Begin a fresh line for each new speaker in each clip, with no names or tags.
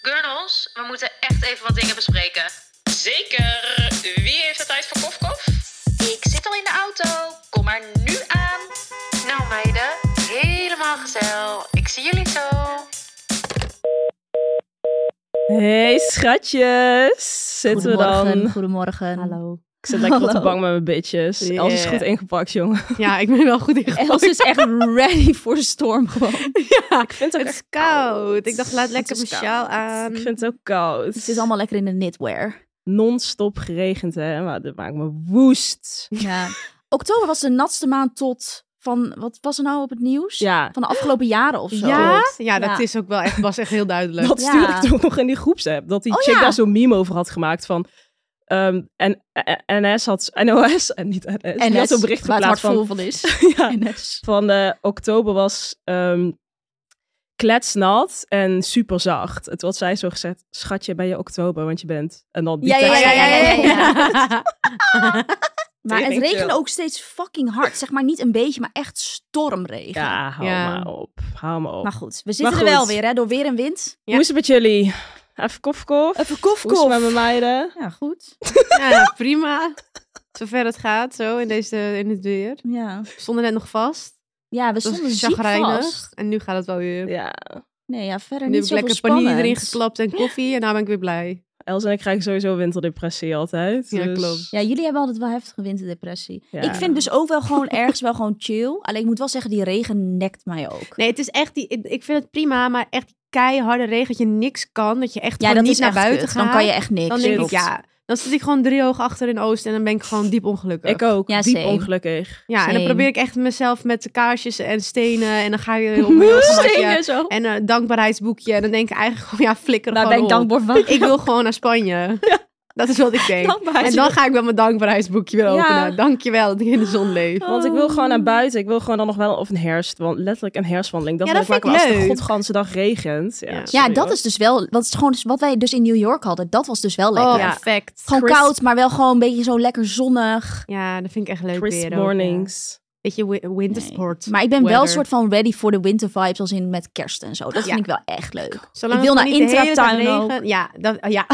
Gurnels, we moeten echt even wat dingen bespreken.
Zeker. Wie heeft de tijd voor kofkof?
Ik zit al in de auto. Kom maar nu aan. Nou meiden, helemaal gezellig. Ik zie jullie zo.
Hey schatjes, zitten we dan?
Goedemorgen.
Hallo.
Ik zit lekker op de
Hallo.
bank met mijn bitches.
Yeah.
Els is goed ingepakt, jongen.
Ja, ik ben wel goed in.
Els is echt ready voor de storm gewoon.
Ja,
Ik vind het ook
het
echt
is koud. Ik dacht, laat
Het is
lekker mijn sjaal
koud.
aan.
Ik vind het ook koud.
Het is allemaal lekker in de knitwear.
non-stop geregend, hè. Maar dat maakt me woest.
Ja. Oktober was de natste maand tot van, wat was er nou op het nieuws?
Ja,
Van de afgelopen jaren of zo.
Ja?
Klopt.
Ja, dat
Ja.
is ook wel echt, was echt heel duidelijk.
dat
Ja.
stuurde ik toch nog in die groepsapp. Dat die
Oh,
chick
ja.
daar zo'n meme over had gemaakt van... ehm, en, en NS had... NOS, en niet NS. En
En
die had
net,
zo'n bericht
waar het hart
geplaatst van...
vol van is.
Ja,
En net.
van eh, oktober was ehm, kletsnat en super zacht. En toen had zij zo gezegd, schatje, ben je oktober, want je bent... En dan die
Ja, ja,
tekst.
ja, ja, ja, ja. Maar
Tering
het regende
chill.
ook steeds fucking hard. Zeg maar niet een beetje, maar echt stormregen.
Ja, hou
Ja.
maar op. Hou maar op.
Maar goed, we zitten
Maar
er wel
goed.
weer hè, door weer en wind.
Ja.
Hoe is het met jullie? Even kof, kof.
Even kof,
Hoe is het met mijn meiden?
Ja, goed.
Ja, prima. Zover het gaat, zo in, deze, in het weer.
Ja,
We stonden net nog vast.
ja we
Dat
stonden
was
ziek
chagrijnig.
vast.
En nu gaat het wel weer.
Ja,
Nee, ja, verder
nu
niet
heb
zoveel
ik lekker
spannend.
panini erin geklapt en koffie. En nou ben ik weer blij.
Els en ik krijgen sowieso winterdepressie altijd.
Ja,
dus-
klopt.
Ja, jullie hebben altijd wel heftige winterdepressie.
Ja.
Ik vind dus ook wel gewoon ergens wel gewoon chill. Alleen ik moet wel zeggen, die regen nekt mij ook.
Nee, het is echt die... Ik vind het prima, maar echt die keiharde regen dat je niks kan. Dat je echt
ja,
gewoon
dat
niet
is
naar
echt
buiten
kut.
gaat.
Dan kan je echt niks.
Dan denk ik,
klopt.
ja, dan zit ik gewoon drie hoog achter in Oost en dan ben ik gewoon diep ongelukkig.
Ik ook.
Ja,
diep
same.
ongelukkig.
ja, en dan
same.
probeer ik echt mezelf met kaarsjes en stenen en dan ga je op een heel gemakje
zo.
en een dankbaarheidsboekje en dan denk ik eigenlijk gewoon, ja, flikker
Daar ben
gewoon
ik dankbaar Nou, van.
op. Ik wil gewoon naar Spanje. Dat is wat ik denk.
Dankbaar.
En dan ga ik wel mijn dankbaarheidsboekje weer
Ja. Oh,
openen. Dankjewel dat ik in de zon leef.
Want ik wil gewoon naar buiten. Ik wil gewoon dan nog wel of een herfst, want letterlijk een herfstwandeling. Dat
Ja,
wil
dat
ik
vind
maken
ik
maar als
leuk.
de godganse dag regent. Ja,
Ja.
Ja,
sorry,
dat
hoor.
is dus wel... Wat, is gewoon, wat wij dus in New York hadden, dat was dus wel lekker.
Oh,
Ja.
perfect.
Gewoon
crisp.
koud, maar wel gewoon een beetje zo lekker zonnig.
Ja, dat vind ik echt leuk
Crisp
weer. ook, ja.
mornings.
Weet je, wi- wintersport.
Maar ik ben wel
Weather.
een soort van ready voor de winter vibes, als in met kerst en zo. Dat
Ja.
vind ik wel echt leuk.
Zolang
ik wil
het maar
naar
niet de hele dag
Intratuin ook.
regent. Ja, dat, oh, ja.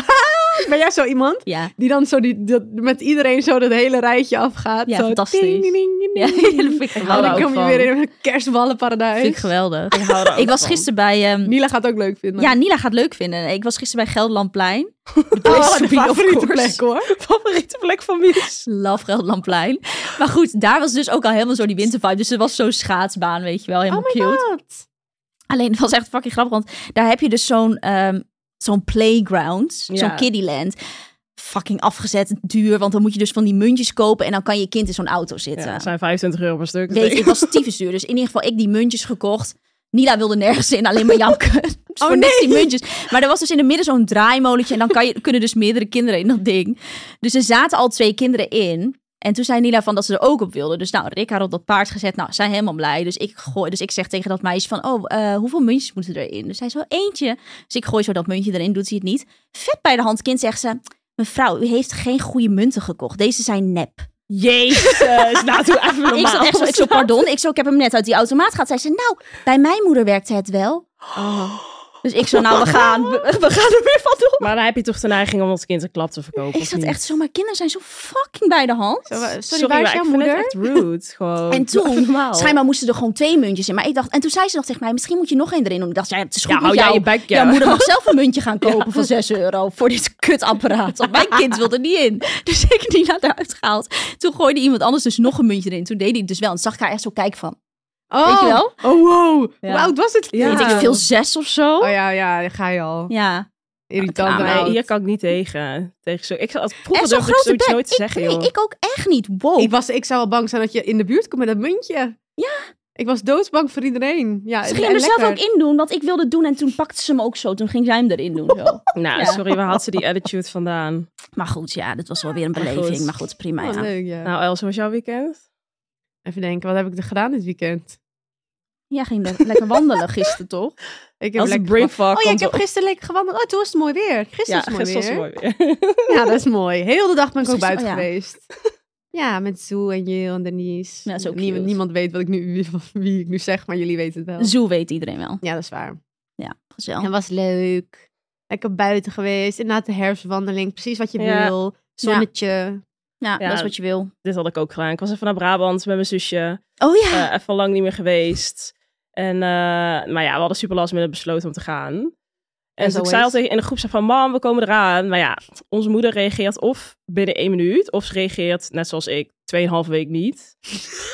ben jij zo iemand?
Ja,
Die dan zo die, dat, met iedereen zo dat hele rijtje afgaat.
Ja,
zo
fantastisch.
ding, ding, ding, ding,
ja dat
ding.
vind ik
hou
En
daar
dan
ook
geweldig.
kom je
van.
weer in een kerstballenparadijs.
vind ik geweldig.
Ik hou daar ook
Ik was
van.
gisteren bij... ehm,
Mila gaat het ook leuk vinden.
ja, Nila gaat het leuk vinden. Ik was gisteren bij Gelderlandplein.
Oh, de
place to
de
be, of
favoriete
course.
plek hoor.
favoriete plek van Mies.
Love Gelderlandplein. Maar goed, daar was dus ook al helemaal zo die wintervibe. Dus er was zo'n schaatsbaan, weet je wel. Helemaal cute.
Oh god.
Alleen, het was echt fucking grappig. Want daar heb je dus zo'n ehm, zo'n playground.
Ja.
Zo'n kiddyland. Fucking afgezet, duur. Want dan moet je dus van die muntjes kopen. En dan kan je kind in zo'n auto zitten.
Ja, het zijn 25 euro per stuk. dus
Weet je, het was tyfusduur. Dus in ieder geval, ik die muntjes gekocht. Nila wilde nergens in, alleen maar janken. Dus voor niks die muntjes. Maar er was dus in het midden zo'n draaimolentje. En dan kan je, kunnen dus meerdere kinderen in dat ding. Dus er zaten al twee kinderen in. En toen zei Nila van dat ze er ook op wilde. Dus nou, Rick haar op dat paard gezet. Nou, zij helemaal blij. Dus ik, gooi, dus ik zeg tegen dat meisje van... Oh, eh, hoeveel muntjes moeten erin? Dus zij zo, eentje. Dus ik gooi zo dat muntje erin. Doet ze het niet. Vet bij de hand kind zegt ze... Mevrouw, u heeft geen goede munten gekocht. Deze zijn nep.
Jezus, nou doe even normaal.
Ik zat echt zo, ik zo, pardon. Ik zo, ik heb hem net uit die automaat gehad. Zij zei, nou, bij mijn moeder werkte het wel. Dus ik zo, nou, we gaan, we, we gaan er weer van doen.
Maar dan heb je toch de neiging om dat kind een klap te verkopen,
Ik
of
zat
niet?
echt zo, maar kinderen zijn zo fucking bij de hand.
Zo, eh,
maar
sorry, waar is
ik
jouw
vind het
moeder?
echt rude, gewoon.
En
Doe even
toen,
normaal.
schijnbaar moesten er gewoon twee muntjes in. Maar ik dacht, en toen zei ze nog tegen mij, misschien moet je nog één erin doen. Ik dacht, ja, het is goed
oh Ja,
met
hou jij
jou.
je bek, ja.
Jouw moeder mag zelf een muntje gaan kopen van 6 euro voor dit kutapparaat. Want mijn kind wilde niet in. Dus ik heb die naar eruit gehaald. Toen gooide iemand anders dus nog een muntje erin. Toen deed hij het dus wel. En toen zag ik haar echt zo kijken van,
Oh,
weet je wel?
Oh wow.
Ja.
Hoe oud was het?
Ja.
weet ik veel, zes of zo.
Oh ja, ja, daar ga je al.
Ja.
Irritant
Ja,
en
maar
Nee,
oud.
hier kan ik niet tegen. tegen zo. Ik zat
En
vroeger
zo'n
durfde ik
grote
zoiets
bek.
nooit te
ik,
zeggen,
nee,
joh.
ik ook echt niet. Wow.
Ik, was, ik zou wel bang zijn dat je in de buurt komt met dat muntje.
Ja.
Ik was doodsbang voor iedereen. Ja,
ze
en-
ging
en
hem er zelf ook
lekker.
in doen, want ik wilde het doen en toen pakte ze me ook zo. Toen ging zij hem erin doen. Zo.
Nou,
Ja.
sorry, waar had ze die attitude vandaan?
Maar goed, ja, dat was wel weer een
Maar goed.
beleving. Maar goed, prima.
Oh,
Ja.
leuk, ja.
Nou, Els, hoe was jouw weekend?
Even denken, wat heb ik er gedaan dit weekend?
Jij ging le- lekker wandelen gisteren, toch?
Ik heb
Als een
lekker
brainfuck
Oh ja, ik
komt
heb
op-
gisteren lekker gewandeld. Oh, toen was het mooi weer. Gisteren
Ja,
was het
gisteren
mooi
was
weer.
het mooi weer.
Ja, dat is mooi. Heel de dag ben ik
Was
ook buiten
gisteren- oh
geweest. Ja, met Zoe en Jill en Denise.
Ja, dat is ook
niemand,
cute.
niemand weet wat ik nu, wie, wie ik nu zeg, maar jullie weten het wel.
Zo weet iedereen wel.
Ja, dat is waar.
Ja, gezellig.
En was leuk. Lekker buiten geweest. Inderdaad, de herfstwandeling. Precies wat je
Ja.
wil. Zonnetje.
Ja,
Ja.
dat is wat je wil.
Dit had ik ook gedaan. Ik was even naar Brabant met mijn zusje.
Oh ja.
Eh, even lang niet meer geweest. En, eh, maar ja, we hadden super last met het besloten om te gaan. En
As
toen ik
always.
zei altijd in de groep, zei van, mam, we komen eraan. Maar ja, onze moeder reageert of binnen één minuut, of ze reageert, net zoals ik, tweeënhalve week niet.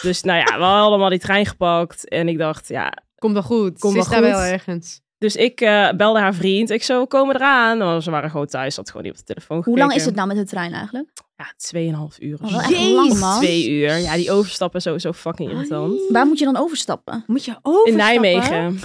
dus nou ja, we hadden allemaal die trein gepakt. En ik dacht, ja,
Komt wel goed.
Komt
Ze is
wel
daar
goed.
wel ergens.
Dus ik eh, belde haar vriend. Ik zo, we komen eraan. Maar ze waren gewoon thuis. Had gewoon niet op de telefoon
Hoe lang is
gekeken.
het nou met de trein eigenlijk?
Ja, tweeënhalf uur. of
Oh,
zo.
wel echt lang, man.
Twee uur. Ja, die overstappen is sowieso fucking irritant.
Waar moet je dan overstappen?
Moet je overstappen?
In Nijmegen.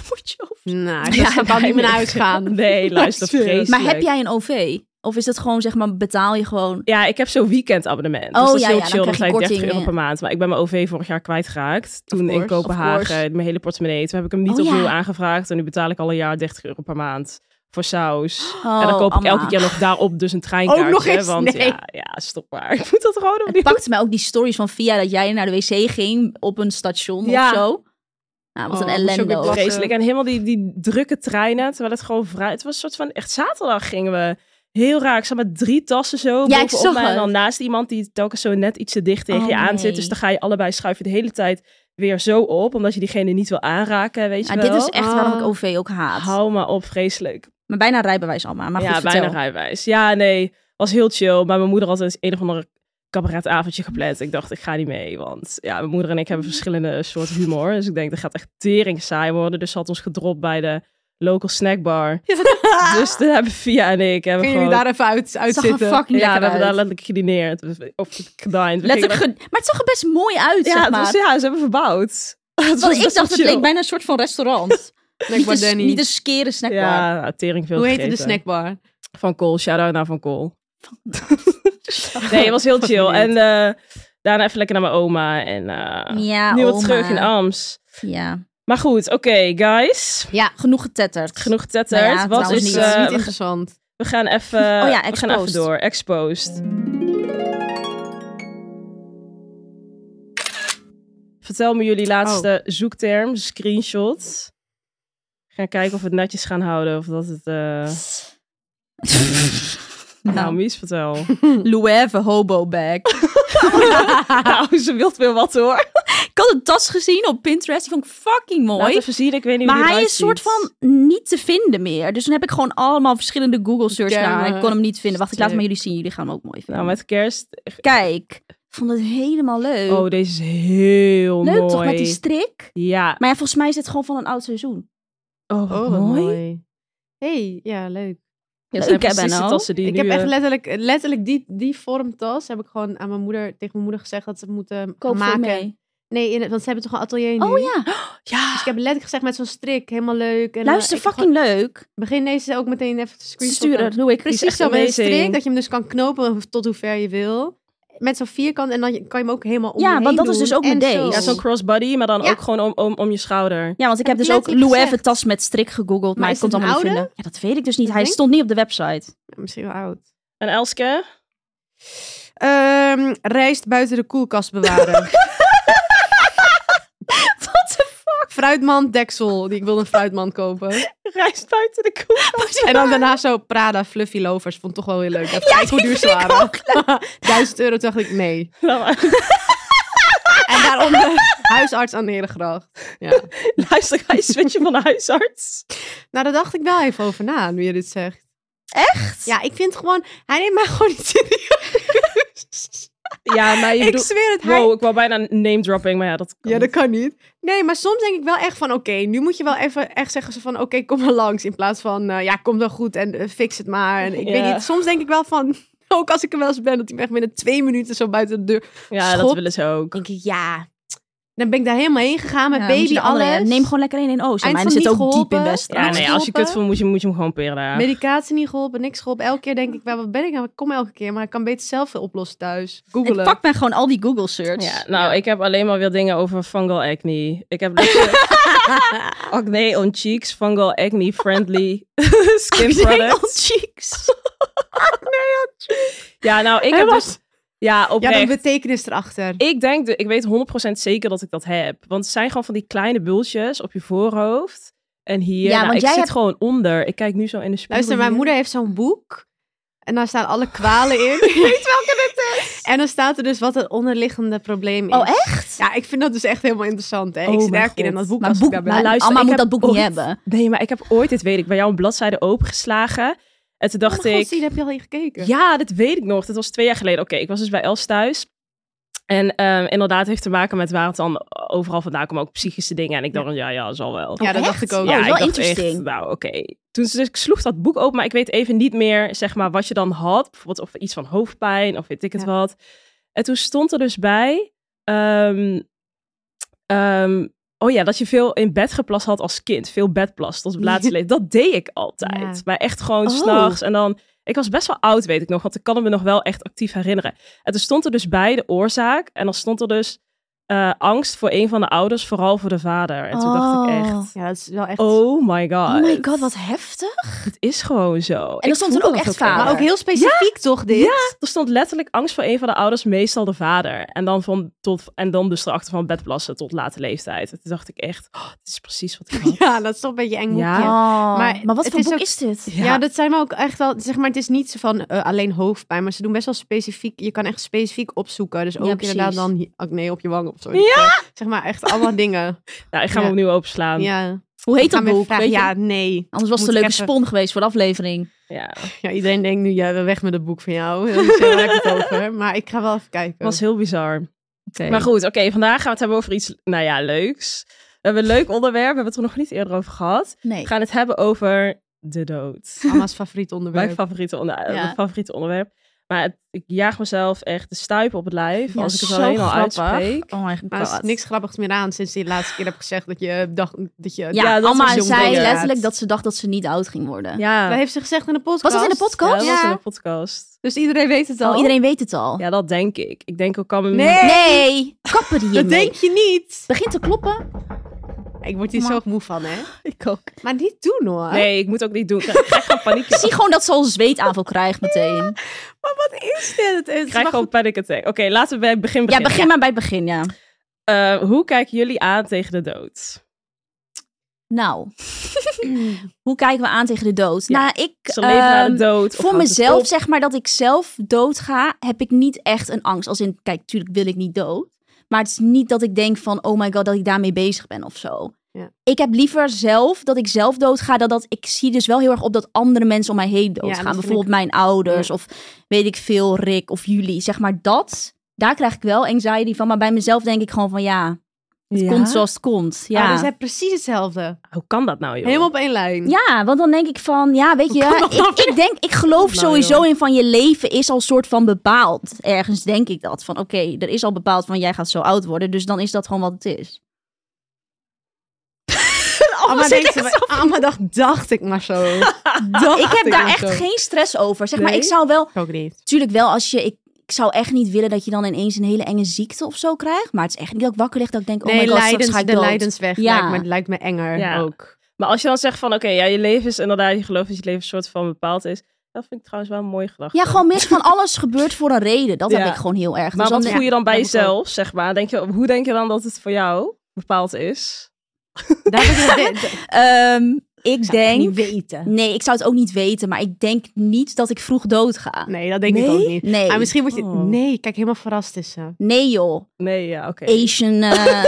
Nou, ik zou kan niet meer naar huis gaan.
Nee, luister,
Serieus.
vreselijk.
Maar heb jij een OV? Of is dat gewoon, zeg maar, betaal je gewoon...
Ja, ik heb zo'n weekendabonnement. dus
Oh,
dat is
ja,
heel
ja, dan
chill.
krijg je
zijn 30
korting,
euro
ja.
per maand. Maar ik ben mijn OV vorig jaar kwijtgeraakt. Toen in
course, of
course.
Kopenhagen, mijn hele portemonnee. Toen heb ik hem niet
Oh, ja.
opnieuw aangevraagd. En nu betaal ik al een jaar 30 euro per maand voor saus.
Oh,
en dan koop ik
Amma.
elke keer nog daarop dus een treinkaartje.
nog eens?
want
Nee.
ja, ja, stop maar. Ik moet dat gewoon
Het
opnieuw.
pakte mij ook die stories van Via dat jij naar de wc ging op een station
Ja.
of zo. Nou, wat een
Oh, moest je ook
ellende.
weer
ook.
plassen.
Vreselijk. En helemaal die, die drukke treinen, terwijl het gewoon vrij... Het was een soort van... Echt zaterdag gingen we heel raar. Ik zat met drie tassen zo
Ja,
bovenop
ik zag
mij. En dan
het.
naast iemand die telkens zo net iets te dicht tegen
Oh,
je aan
nee.
zit. Dus dan ga je allebei schuiven de hele tijd weer zo op. Omdat je diegene niet wil aanraken, weet je
Ja,
wel.
dit is echt waarom ik
Ah.
OV ook haat.
Hou maar op, vreselijk.
Maar bijna rijbewijs allemaal. Maar
ja,
goed,
bijna
vertel.
rijwijs. Ja, nee. Was heel chill. Maar mijn moeder had eens een of ander cabaretavondje gepland. Ik dacht, ik ga niet mee. Want ja, mijn moeder en ik hebben verschillende soorten humor. Dus ik denk, dat gaat echt tering saai worden. Dus ze had ons gedropt bij de local snackbar. dus toen hebben Via en ik hebben
Kunnen
gewoon...
jullie daar even uit,
Het zag er
uitzitten?
fucking
ja, we hebben
lekker
daar
uit.
letterlijk gedineerd. Of gedined. We
Letterlijk
gingen
ge- Maar het zag er best mooi uit,
daar-
zeg
ja,
maar.
dus, ja, ze hebben verbouwd. Het was
Want ik
best wel
dacht, het leek
chill.
bijna een soort van restaurant. niet,
Snackbar
een,
Danny.
niet een skere snackbar.
Ja, nou, tering veel
Hoe heette de
gegeten.
snackbar?
Van Kool, shout-out naar Van Kool. nee, het was heel chill. En eh, daarna even lekker naar mijn oma. En eh,
Ja,
nu weer
oma.
terug in Ams.
oh Ja.
Maar goed, oké, guys.
Genoeg getetterd.
Genoeg getetterd.
Nou ja,
Wat
trouwens
is...
niet.
Dus, dat is
eh, we,
niet
gaan-
interessant.
we gaan even...
Oh ja,
we gaan even
exposed.
door. Exposed. Vertel me jullie laatste
Oh.
zoekterm, screenshot. We gaan kijken of we het netjes gaan houden. Of dat het... eh, Nou,
nou,
Mies, vertel.
Loewe hobo bag.
nou, ze wilt weer wat hoor.
Ik had een tas gezien op Pinterest. Die vond ik fucking mooi.
Laat even zien, ik weet niet hoe
Maar
die
hij
eruit
is soort
ziet.
van niet te vinden meer. Dus dan heb ik gewoon allemaal verschillende Google search
Damn
gedaan. Ik kon hem niet vinden. Wacht, ik laat hem
Sick.
aan jullie zien. Jullie gaan hem ook mooi vinden.
Nou, met kerst...
Kijk, ik vond het helemaal leuk.
Oh, deze is heel
leuk
mooi.
toch met die strik?
Ja.
Maar ja, volgens mij is het gewoon van een oud seizoen.
Oh, wat
Oh, wat
mooi.
mooi. hey, ja, leuk.
Ja,
Leuk,
ze hebben
hè,
precies de
Benno?
tassen die
ik
nu,
heb echt
eh,
letterlijk, letterlijk die, die vormtas heb ik gewoon aan mijn moeder, tegen mijn moeder gezegd dat ze het moeten
Koop voor
maken.
mee.
Nee, in, het- want ze hebben toch een atelier nu?
Oh ja,
Dus
Ja.
ik heb letterlijk gezegd met zo'n strik, helemaal leuk. En,
luister,
eh, ik
fucking leuk.
ga- begin deze ook meteen even te
Te
screenshotten.
sturen, doe ik.
Precies
echt
zo met een
amazing.
strik, dat je hem dus kan knopen hoe- tot hoe ver je wil. Met zo'n vierkant en dan je- kan je hem ook helemaal
Ja,
omheen
want dat is dus
doen.
ook met
En
deze.
zo.
Ja, zo'n crossbody, maar dan
Ja.
ook gewoon om, om, om je schouder.
Ja, want ik
Heb
heb
ik
dus ook
net niet
Louis
gezegd.
tas met strik gegoogeld, maar,
Maar
ik
is
kon het
het
allemaal
een
niet vinden. Ja, dat weet ik dus niet.
Dat
Hij
denk-
stond niet op de website.
Misschien wel oud.
En Elske?
Ehm, rijst buiten de koelkast bewaren.
Wat de
fruitmand deksel. Die, ik wilde een fruitmand kopen.
Rijst buiten de koel.
En dan daarna zo Prada Fluffy Lovers. Vond ik toch wel heel leuk. Even kijken hoe duur ze waren. Duizend euro toen dacht ik nee. En daaronder huisarts aan de Herengracht. Ja.
Luister, ga je switchen van de huisarts?
Nou, daar dacht ik wel even over na, nu je dit zegt.
Echt?
Ja, ik vind gewoon... Hij neemt mij gewoon niet serieus.
Ja, maar je
Ik
bedoelt...
zweer het, hij...
Wow, ik wou bijna name dropping, maar ja, dat kan
Ja, dat
niet.
kan niet. Nee, maar soms denk ik wel echt van... Oké, nu moet je wel even echt zeggen zo van... Oké, kom maar langs. In plaats van... eh, ja, komt wel goed en eh, fix het maar. En ik
Ja.
weet niet, soms denk ik wel van... Ook als ik er wel eens ben, dat hij me echt binnen twee minuten zo buiten de deur...
Ja, dat
Schop.
willen ze ook.
denk ik, ja... Dan ben ik daar helemaal heen gegaan met
Ja, moet je
baby,
de andere-
alles.
Neem gewoon lekker één in Oost.
Eind
Mijn
van
zit ook diep
niet
in
geholpen.
West.
Ja, nee, als je
Schoppen.
kut voelt, moet je, moet je hem gewoon peren.
Medicatie niet geholpen, niks geholpen. Elke keer denk ik, wel, wat ben ik nou? Ik kom elke keer, maar ik kan beter zelf wel oplossen thuis.
Ik
Googelen.
pak mij gewoon al die Google search.
Ja, nou, ik heb alleen maar weer dingen over fungal acne. Ik heb lekker- acne on cheeks, fungal acne friendly skin
Acne on
products.
cheeks.
Ja, nou, ik
Hij
heb
was-
dus... Ja,
Ja,
oprecht.
dan betekenis erachter.
Ik denk, de- ik weet 100% zeker dat ik dat heb. Want het zijn gewoon van die kleine bultjes op je voorhoofd. En hier,
Ja,
nou,
want
ik
jij
zit
hebt-
gewoon onder. Ik kijk nu zo in de spiegel.
Luister, mijn
hier.
moeder heeft zo'n boek. En daar staan alle kwalen in. Ik weet welke het is. En dan staat er dus wat het onderliggende probleem is.
Oh, echt?
Ja, ik vind dat dus echt helemaal interessant. Hè?
Oh
ik zit
mijn
elke keer in
God.
dat boek
Maar
als
boek-
ik daar ben.
Maar luister,
Amma
ik
moet
heb
dat boek niet
ooit-
hebben.
Nee, maar ik heb ooit, dit weet ik, bij jou een bladzijde opengeslagen. En toen dacht ik...
Zien, heb je al in gekeken?
Ja, dat weet ik nog. Dat was twee jaar geleden. Oké, ik was dus bij Els thuis. En ehm, inderdaad heeft te maken met waar het dan overal vandaan komt. Ook psychische dingen. En ik dacht, ja, ja, zal wel.
Ja, dat
echt?
dacht ik ook.
Ja,
ik
is wel
dacht echt,
interesting.
nou, oké. Toen dus ik sloeg dat boek open, maar ik weet even niet meer zeg maar, wat je dan had. Bijvoorbeeld of iets van hoofdpijn of weet ik het
Ja.
wat. En toen stond er dus bij... ehm, ehm, oh ja, dat je veel in bed geplast had als kind. Veel bedplas tot het laatste leven. Dat deed ik altijd.
Ja.
Maar echt gewoon
Oh.
s'nachts. En dan... Ik was best wel oud, weet ik nog. Want ik kan het me nog wel echt actief herinneren. En toen stond er dus bij de oorzaak. En dan stond er dus eh, angst voor een van de ouders. Vooral voor de vader. En toen dacht ik echt...
Oh.
Ja, dat is wel echt...
Oh my god.
Oh my god, wat heftig.
Het is gewoon zo. En
er stond er ook echt vader.
maar ook heel specifiek toch dit?
Ja, er stond letterlijk angst voor een van de ouders, meestal de vader. En dan, van, tot, en dan dus erachter van bedplassen tot late leeftijd. En toen dacht ik echt, oh, dit is precies wat ik had.
Ja, dat is toch een beetje eng
Ja.
boekje.
Oh,
Maar
maar, wat
het
voor
is
boek
ook-
is dit?
Ja. dat zijn we ook echt wel. Zeg maar, het is niet zo van eh, alleen hoofdpijn, maar ze doen best wel specifiek. Je kan echt specifiek opzoeken. Dus ook
precies.
inderdaad dan hi- acne op je wangen of zo. Ja! Zeg maar echt allemaal dingen.
Nou, ik ga hem
Ja.
opnieuw openslaan. Ja.
Ja.
Hoe heet
Ga
dat
me
boek?
vragen.
Weet je?
Ja, nee.
Anders was het
Moet
een
ik
leuke
even-
spon geweest voor de aflevering.
Ja, iedereen denkt nu, ja, weg met het boek van jou. Daar heb ik het over. Maar ik ga wel even kijken.
was heel bizar. Maar goed, oké, vandaag gaan we het hebben over iets, nou ja, leuks. We hebben een leuk onderwerp, we hebben het er nog niet eerder over gehad.
Nee.
We gaan het hebben over de dood.
Mama's favoriet onderwerp.
Mijn favoriete, onder- eh,
Ja.
mijn favoriete onderwerp. Maar het- ik jaag mezelf echt de stuip op het lijf.
Ja,
als ik het
zo
alleen al
grappig.
uitspreek.
Oh my god.
Maar er is niks grappigs meer aan sinds je de laatste keer hebt gezegd dat je eh, dacht dat je.
Ja,
Ja, dat
Amma
was jong
zei
inderdaad.
letterlijk dat ze dacht dat ze niet oud ging worden.
Ja,
Dat heeft ze gezegd in de podcast.
Was dat in de podcast?
Ja, dat was
Ja.
in de podcast.
Dus iedereen weet het al.
Oh, iedereen weet het al.
Ja, dat denk ik. Ik denk ook kan me...
Nee.
Nee, kappen die
Dat
hiermee.
denk je niet.
Begint te kloppen.
Ik word hier
Maar-
zo moe van, hè?
Ik ook.
Maar niet doen hoor.
Nee, ik moet ook niet doen. Ik krijg- ik krijg gewoon paniek.
Ik zie gewoon dat ze al een zweetaanval krijgt meteen.
Maar wat is dit? Het is oh,
Ik krijg
maar
gewoon panic attack. Oké, laten we bij het begin
Ja,
beginnen.
begin maar bij het begin, ja.
Eh, hoe kijken jullie aan tegen de dood?
Nou, hoe kijken we aan tegen de dood?
Ja.
Nou, ik...
Ze leven naar de
ehm,
dood. of
Voor
houdt het
mezelf,
op?
zeg maar, dat ik zelf doodga, heb ik niet echt een angst. Als in, kijk, tuurlijk wil ik niet dood. Maar het is niet dat ik denk van, oh my god, dat ik daarmee bezig ben of zo.
Ja.
Ik heb liever zelf dat ik zelf doodga, dan dat ik zie dus wel heel erg op dat andere mensen om mij heen
dat
doodgaan.
vind
Bijvoorbeeld mijn ouders of weet ik veel, Rick of jullie. Zeg maar dat, daar krijg ik wel anxiety van. Maar bij mezelf denk ik gewoon van, ja, het
Ja?
komt zoals het komt.
Ja,
Ja.
dus hij precies hetzelfde.
Hoe kan dat nou, joh?
Helemaal op één lijn.
Ja, want dan denk ik van, ja, weet je, ik, ik denk, ik geloof
Nou,
sowieso
joh.
in van je leven is al soort van bepaald. Ergens denk ik dat. Van oké, er is al bepaald van jij gaat zo oud worden, dus dan is dat gewoon wat het is.
Amma,
zit
denkt, ze- Amma ah, dacht, dacht ik maar zo.
nou? ik heb daar
ook
echt
zo.
geen stress over. Zeg maar,
Nee?
ik zou wel,
ook niet.
natuurlijk wel als je, ik, ik zou echt niet willen dat je dan ineens een hele enge ziekte of zo krijgt. Maar het is echt niet dat ik wakker lig dat ik denk, oh
Nee,
my god, straks
Leidens-
ga ik
de
dood.
Leidensweg
Ja.
lijkt, me, lijkt me enger
Ja.
ook.
Maar als je dan zegt van, oké, ja, je leven is inderdaad, je gelooft dat je leven een soort van bepaald is. Dat vind ik trouwens wel een mooie gedachte.
Ja, gewoon mis van alles gebeurt voor een reden. Dat
Ja.
heb ik gewoon heel erg.
Maar
Dus
wat
dan-
voel je dan bij
dat moet wel.
jezelf, zeg maar? Denk je, hoe denk je dan dat het voor jou bepaald is?
Daar heb ik de- de-
Ehm, ik denk...
weten.
Nee, ik zou het ook niet weten, maar ik denk niet dat ik vroeg dood ga.
Nee, dat denk
Nee?
ik ook niet.
Nee, Oh
Maar misschien word je...
Oh.
Nee, kijk, helemaal verrast is ze.
nee joh.
Nee, ja, oké.
Asian eh,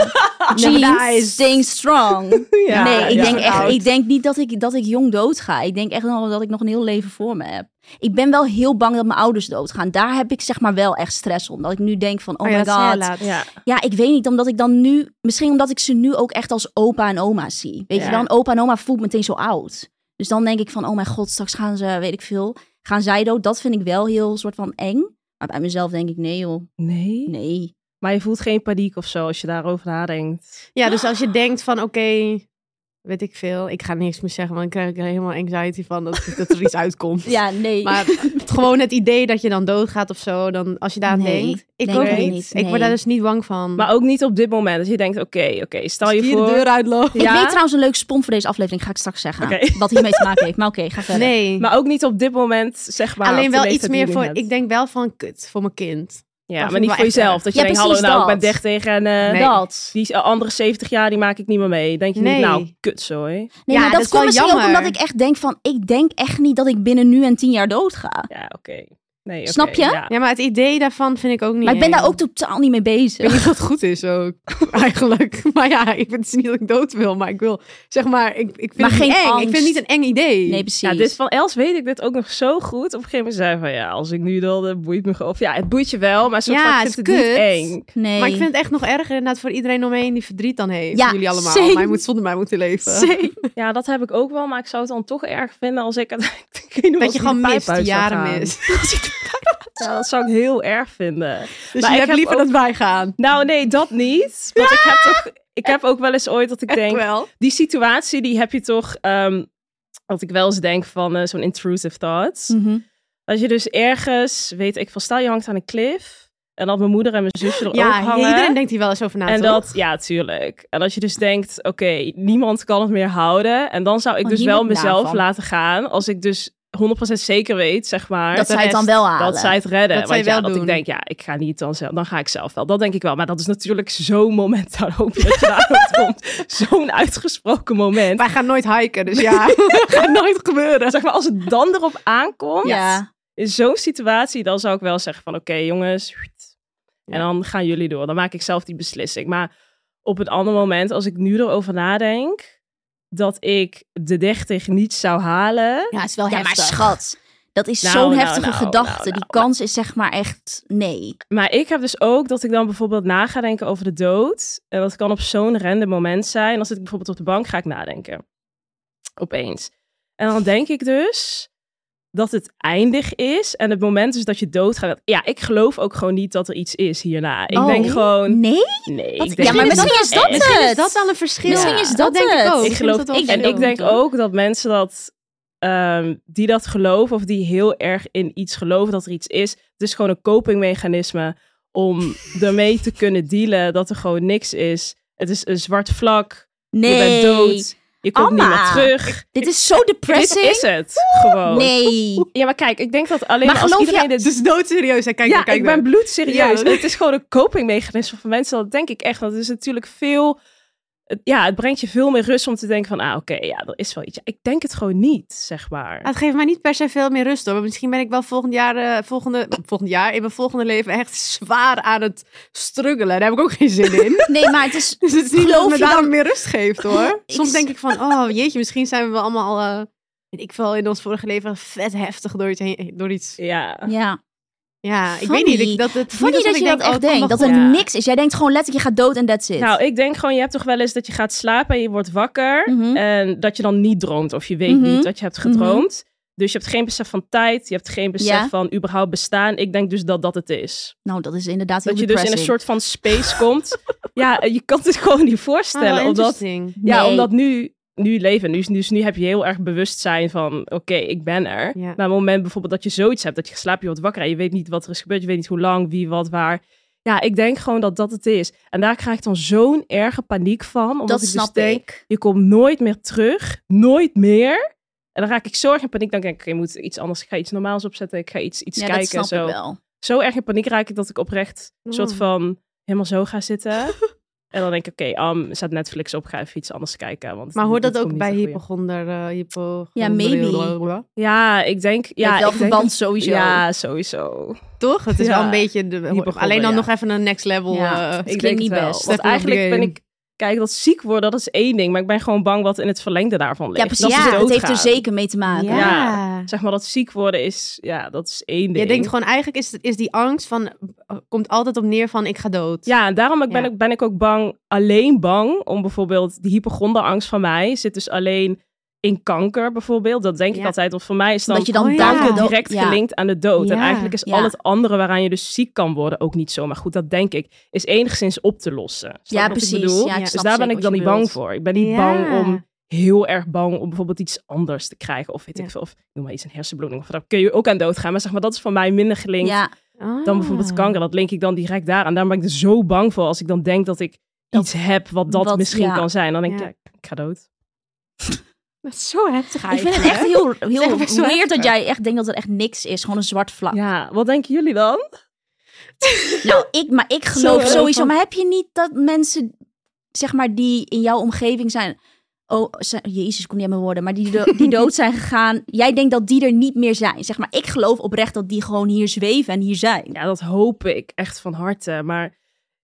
jeans,
Nice.
staying strong.
Ja,
nee, ik,
ja.
denk echt,
oud.
ik denk niet dat ik, dat ik jong dood ga. Ik denk echt nog dat ik nog een heel leven voor me heb. Ik ben wel heel bang dat mijn ouders doodgaan. Daar heb ik zeg maar wel echt stress om. Dat ik nu denk van, oh,
ja,
my
dat zei jij
god.
laatst.
Ja.
Ja, ik weet niet, omdat ik dan nu... Misschien omdat ik ze nu ook echt als opa en oma zie. Weet
Ja.
je dan, opa en oma voelt meteen zo oud. Dus dan denk ik van, oh mijn god, straks gaan ze, weet ik veel... Gaan zij dood? Dat vind ik wel heel soort van eng. Maar bij mezelf denk ik, nee joh,
Nee?
nee.
Maar je voelt geen paniek of zo als je daarover nadenkt.
Ja, dus als je denkt van, oké, weet ik veel. Ik ga niks meer zeggen, want dan krijg ik er helemaal anxiety van dat, dat er iets uitkomt.
Ja, nee.
Maar het- gewoon het idee dat je dan doodgaat of zo, dan, als je daar aan
Nee,
denkt. Ik
denk
ook
ik
niet.
niet,
Ik
nee.
word daar dus niet bang van.
Maar ook niet op dit moment. Dat je denkt, oké, oké, stel
Als
je
ik
voor...
hier de deur uitloop.
Ik
Ja?
weet trouwens een leuke spon voor deze aflevering, ga ik straks zeggen.
Oké.
Wat hiermee te maken heeft. Maar oké, ga verder.
Nee,
Maar ook niet op dit moment, zeg maar. op
alleen
de
wel
leeftijd
iets
die je
meer
nu
voor,
hebt.
ik denk wel van kut, voor mijn kind.
Ja,
vind
maar
ik
niet
wel
voor
echt
jezelf.
erg.
Dat je
Ja,
denkt, hallo,
precies
nou, ik ben
dat.
30 en eh,
Nee.
Dat.
die andere 70 jaar, die maak ik niet meer mee. Denk je
Nee.
niet, nou, kutzooi.
Nee,
Ja,
maar
dat
dat,
is
komt
wel
misschien ook
jammer.
omdat ik echt denk van... Ik denk echt niet dat ik binnen nu en tien jaar doodga.
Ja, oké. Nee, oké,
Snap je?
Ja.
Ja, maar het idee daarvan vind ik ook niet
maar ik ben
eng.
daar ook totaal niet mee
Ik
bezig.
weet niet of dat goed is ook, eigenlijk. Maar ja, ik vind het is niet dat ik dood wil, maar ik wil, zeg maar, ik, ik vind
Maar
het niet
geen
eng. Ik vind het
angst.
niet een eng idee.
Nee, precies.
Ja, dus van Els weet ik dit ook nog zo goed. Op een gegeven moment zei hij van, ja, als ik nu dan, dan boeit me gewoon. Of ja, het boeit je wel, maar soort
Ja,
van, ik
het
vind het,
is
niet
kut.
eng.
nee.
Maar ik vind het echt nog erger inderdaad voor iedereen omheen die verdriet dan heeft.
Ja,
jullie allemaal.
same.
Maar hij moet zonder mij moeten leven.
Ja, dat heb ik ook wel, maar ik zou het dan toch erg vinden als ik uiteindelijk...
Dat je gewoon mist, die jaren
mis.
mist.
Ja, dat zou ik heel erg vinden.
Dus
Maar
je
ik
hebt
heb
liever
ook-
dat wij gaan.
Nou, nee, dat niet. Want ik heb toch... Ik heb ook wel eens ooit dat ik
Ah! Echt
denk,
wel.
die situatie die heb je toch... ehm wat ik wel eens denk van eh, zo'n intrusive thoughts.
Mm.
Mhm.
Dat je dus ergens, weet ik van, stel je hangt aan een klif. En dat mijn moeder en mijn zusje er
Ja,
ook hangen.
iedereen denkt hier wel eens over na,
en
toch?
dat, ja, tuurlijk. En als je dus denkt, oké, niemand kan het meer houden. En dan zou ik
Oh,
dus
hier
wel
moet ik
mezelf
daarvan.
laten gaan. Als ik dus 100% zeker weet, zeg maar.
dat
de
zij het dan
rest,
wel halen.
dat zij het redden.
Dat zij
Want ja,
wel
dat
doen.
ik denk, ja, ik ga niet dan zelf. Dan ga ik zelf wel. Dat denk ik wel. Maar dat is natuurlijk zo'n moment. Daar hoop je dat je daarop komt. Zo'n uitgesproken moment.
Wij gaan nooit hiken, dus ja, gaat nooit gebeuren.
zeg maar, als het dan erop aankomt.
Oh Ja.
in zo'n situatie, dan zou ik wel zeggen van oké jongens, sst. en dan gaan jullie door. Dan maak ik zelf die beslissing. Maar op een ander moment, als ik nu erover nadenk, dat ik de 30 niet zou halen.
Ja, het is wel
Ja, maar
heftig.
schat,
schat, dat is
Nou,
zo'n
nou,
heftige
nou,
gedachte.
nou, nou,
Die kans is zeg maar echt nee.
Maar ik heb dus ook dat ik dan bijvoorbeeld na ga denken over de dood. En dat kan op zo'n random moment zijn. En dan zit ik bijvoorbeeld op de bank, ga ik nadenken. Opeens. En dan denk ik dus dat het eindig is. En het moment is dat je doodgaat. Ja, ik geloof ook gewoon niet dat er iets is hierna. Ik
Oh.
denk gewoon,
Nee?
nee.
Wat-
ik denk
Ja, maar
Misschien is
misschien is dat
Misschien is
het.
dat wel een verschil.
Misschien
Ja.
is dat,
denk
het.
ik ook.
Ik geloof
vind dat wel
ik-
en
verschil.
ik denk ook dat mensen dat ehm, die dat geloven of die heel erg in iets geloven dat er iets is, het is gewoon een copingmechanisme om ermee te kunnen dealen dat er gewoon niks is. Het is een zwart vlak.
Nee.
Je bent dood. Je komt niet meer
Anna.
terug.
Dit is zo
Dit
depressing.
is het gewoon.
Nee.
Ja, maar kijk, ik denk dat alleen
Maar
als
geloof
iedereen
je-
dit-
Dus doodserieus, hè? Kijk,
ja,
dan, kijk
ik
dan.
ben bloedserieus.
Ja.
Het is gewoon een copingmechanisme van mensen. Dat denk ik echt. Want het is natuurlijk veel... het- Ja, het brengt je veel meer rust om te denken van... Ah, oké, ja, er is wel iets. Ik denk het gewoon niet, zeg
Ah,
maar.
Het geeft mij niet per se veel meer rust hoor. Maar Misschien ben ik wel volgend jaar, eh, volgende, volgend jaar in mijn volgende leven echt zwaar aan het struggelen. Daar heb ik ook geen zin in.
Nee, maar het is...
Dus het is niet dat
Geloof
het me
je dan-
daarom meer rust geeft hoor.
Ik
Soms
s-
denk ik van, oh jeetje, misschien zijn we wel allemaal, eh, weet ik veel, in ons vorige leven vet heftig door iets. Heen, door iets.
Ja.
Ja.
Ja, ik
Funny.
weet niet. Ik, dat het
Vond je dat
niet alsof
je
ik
dat
denk, oh,
echt
het komt
denkt?
wel
Dat er
goed.
Ja.
niks is. Jij denkt gewoon letterlijk, je gaat dood en that's it.
Nou, ik denk gewoon... Je hebt toch wel eens dat je gaat slapen en je wordt wakker.
Mhm.
En dat je dan niet droomt. Of je weet
Mhm.
niet dat je hebt gedroomd. Dus je hebt geen besef van tijd. Je hebt geen besef
Ja.
van überhaupt bestaan. Ik denk dus dat dat het is.
Nou, dat is inderdaad heel
Dat je dus in een
depressing.
soort van space komt. Ja, je kan het gewoon niet voorstellen.
Ah,
omdat
interesting.
Ja,
Nee.
omdat nu, nu leven, nu, dus nu heb je heel erg bewustzijn van, oké, ik ben er.
Ja.
Maar op het moment bijvoorbeeld dat je zoiets hebt, dat je geslapen, je wordt wakker en je weet niet wat er is gebeurd, je weet niet hoe lang, wie, wat, waar. Ja, ik denk gewoon dat dat het is. En daar krijg ik dan zo'n erge paniek van. Omdat
Dat
ik
snap
dus denk,
ik.
je komt nooit meer terug, nooit meer. En dan raak ik zo erg in paniek. Dan denk ik, oké, ik moet iets anders, ik ga iets normaals opzetten, ik ga iets, iets
Ja,
kijken.
dat snap
en zo
ik wel.
zo erg in paniek raak ik dat ik oprecht een soort
Mm.
van helemaal zo ga zitten. en dan denk ik, oké, am, zet Netflix op, ga even iets anders kijken. Want
Maar
dit-
hoort
dit
dat ook
komt
bij
niet ten goede.
hypochonder? eh hypo
Ja, maybe.
Ja, ik denk...
Ja,
Ja,
wel
ik denk
verband
dat-
sowieso. Eh,
Ja, sowieso.
Toch? Het is
Ja.
wel een beetje... De,
Hypochonder,
alleen dan
ja.
nog even een next level.
Ja.
eh,
Het
ik
klinkt
denk
niet
het wel.
best.
Want
Step up
eigenlijk
the
ben
game.
ik... Kijk, dat ziek worden, dat is één ding. Maar ik ben gewoon bang wat in het verlengde daarvan ligt.
Ja, precies.
Dat ze
Ja, dat heeft er
doodgaan.
zeker mee te maken.
Ja. Zeg maar, dat ziek worden is... Ja, dat is één ding.
Je denkt gewoon, eigenlijk is, is die angst van, eh, komt altijd op neer van ik ga dood.
Ja, en daarom ik ben,
Ja.
ik, ben ik ook bang, alleen bang om bijvoorbeeld die hypochonderangst van mij zit dus alleen in kanker bijvoorbeeld. Dat denk ik
Ja.
altijd, want voor mij is dan
Dat je dan
Oh, ja.
daar
kanker
dood-
direct
ja.
gelinkt aan de dood. En
Ja.
eigenlijk is
Ja.
al het andere waaraan je dus ziek kan worden ook niet zo. Maar goed, dat denk ik, is enigszins op te lossen. Snap je
Ja,
wat Ik
precies.
bedoel?
Ja, ik
Dus
dus
snap
daar ben
zeker
ik dan
wat je
niet bang
bedoelt.
voor. Ik ben niet
Ja.
bang om heel erg bang om bijvoorbeeld iets anders te krijgen. Of weet
Ja.
ik veel, of noem maar iets, een hersenbloeding. Of daar kun je ook aan doodgaan. Maar zeg maar, dat is voor mij minder gelinkt
Ja,
Ah.
dan bijvoorbeeld kanker. Dat link ik dan direct daar. En daarom ben ik er zo bang voor als ik dan denk dat ik iets heb wat dat
wat-
misschien
ja.
kan zijn. Dan denk ik,
Ja.
ja, ik ga dood.
Dat is zo heftig
ik vind
eigenlijk.
het echt heel, heel
echt best wel
weird dat
heftig.
jij echt denkt dat er echt niks is. Gewoon een zwart vlak.
Ja, wat denken jullie dan?
Nou, ik, maar ik geloof
Zo,
sowieso.
van-
Maar heb je niet dat mensen, zeg maar, die in jouw omgeving zijn. Oh, zijn- Jezus, ik kom niet aan mijn woorden. Maar die, do- die dood zijn gegaan. Jij denkt dat die er niet meer zijn. Zeg maar, ik geloof oprecht dat die gewoon hier zweven en hier zijn.
Ja, dat hoop ik echt van harte. Maar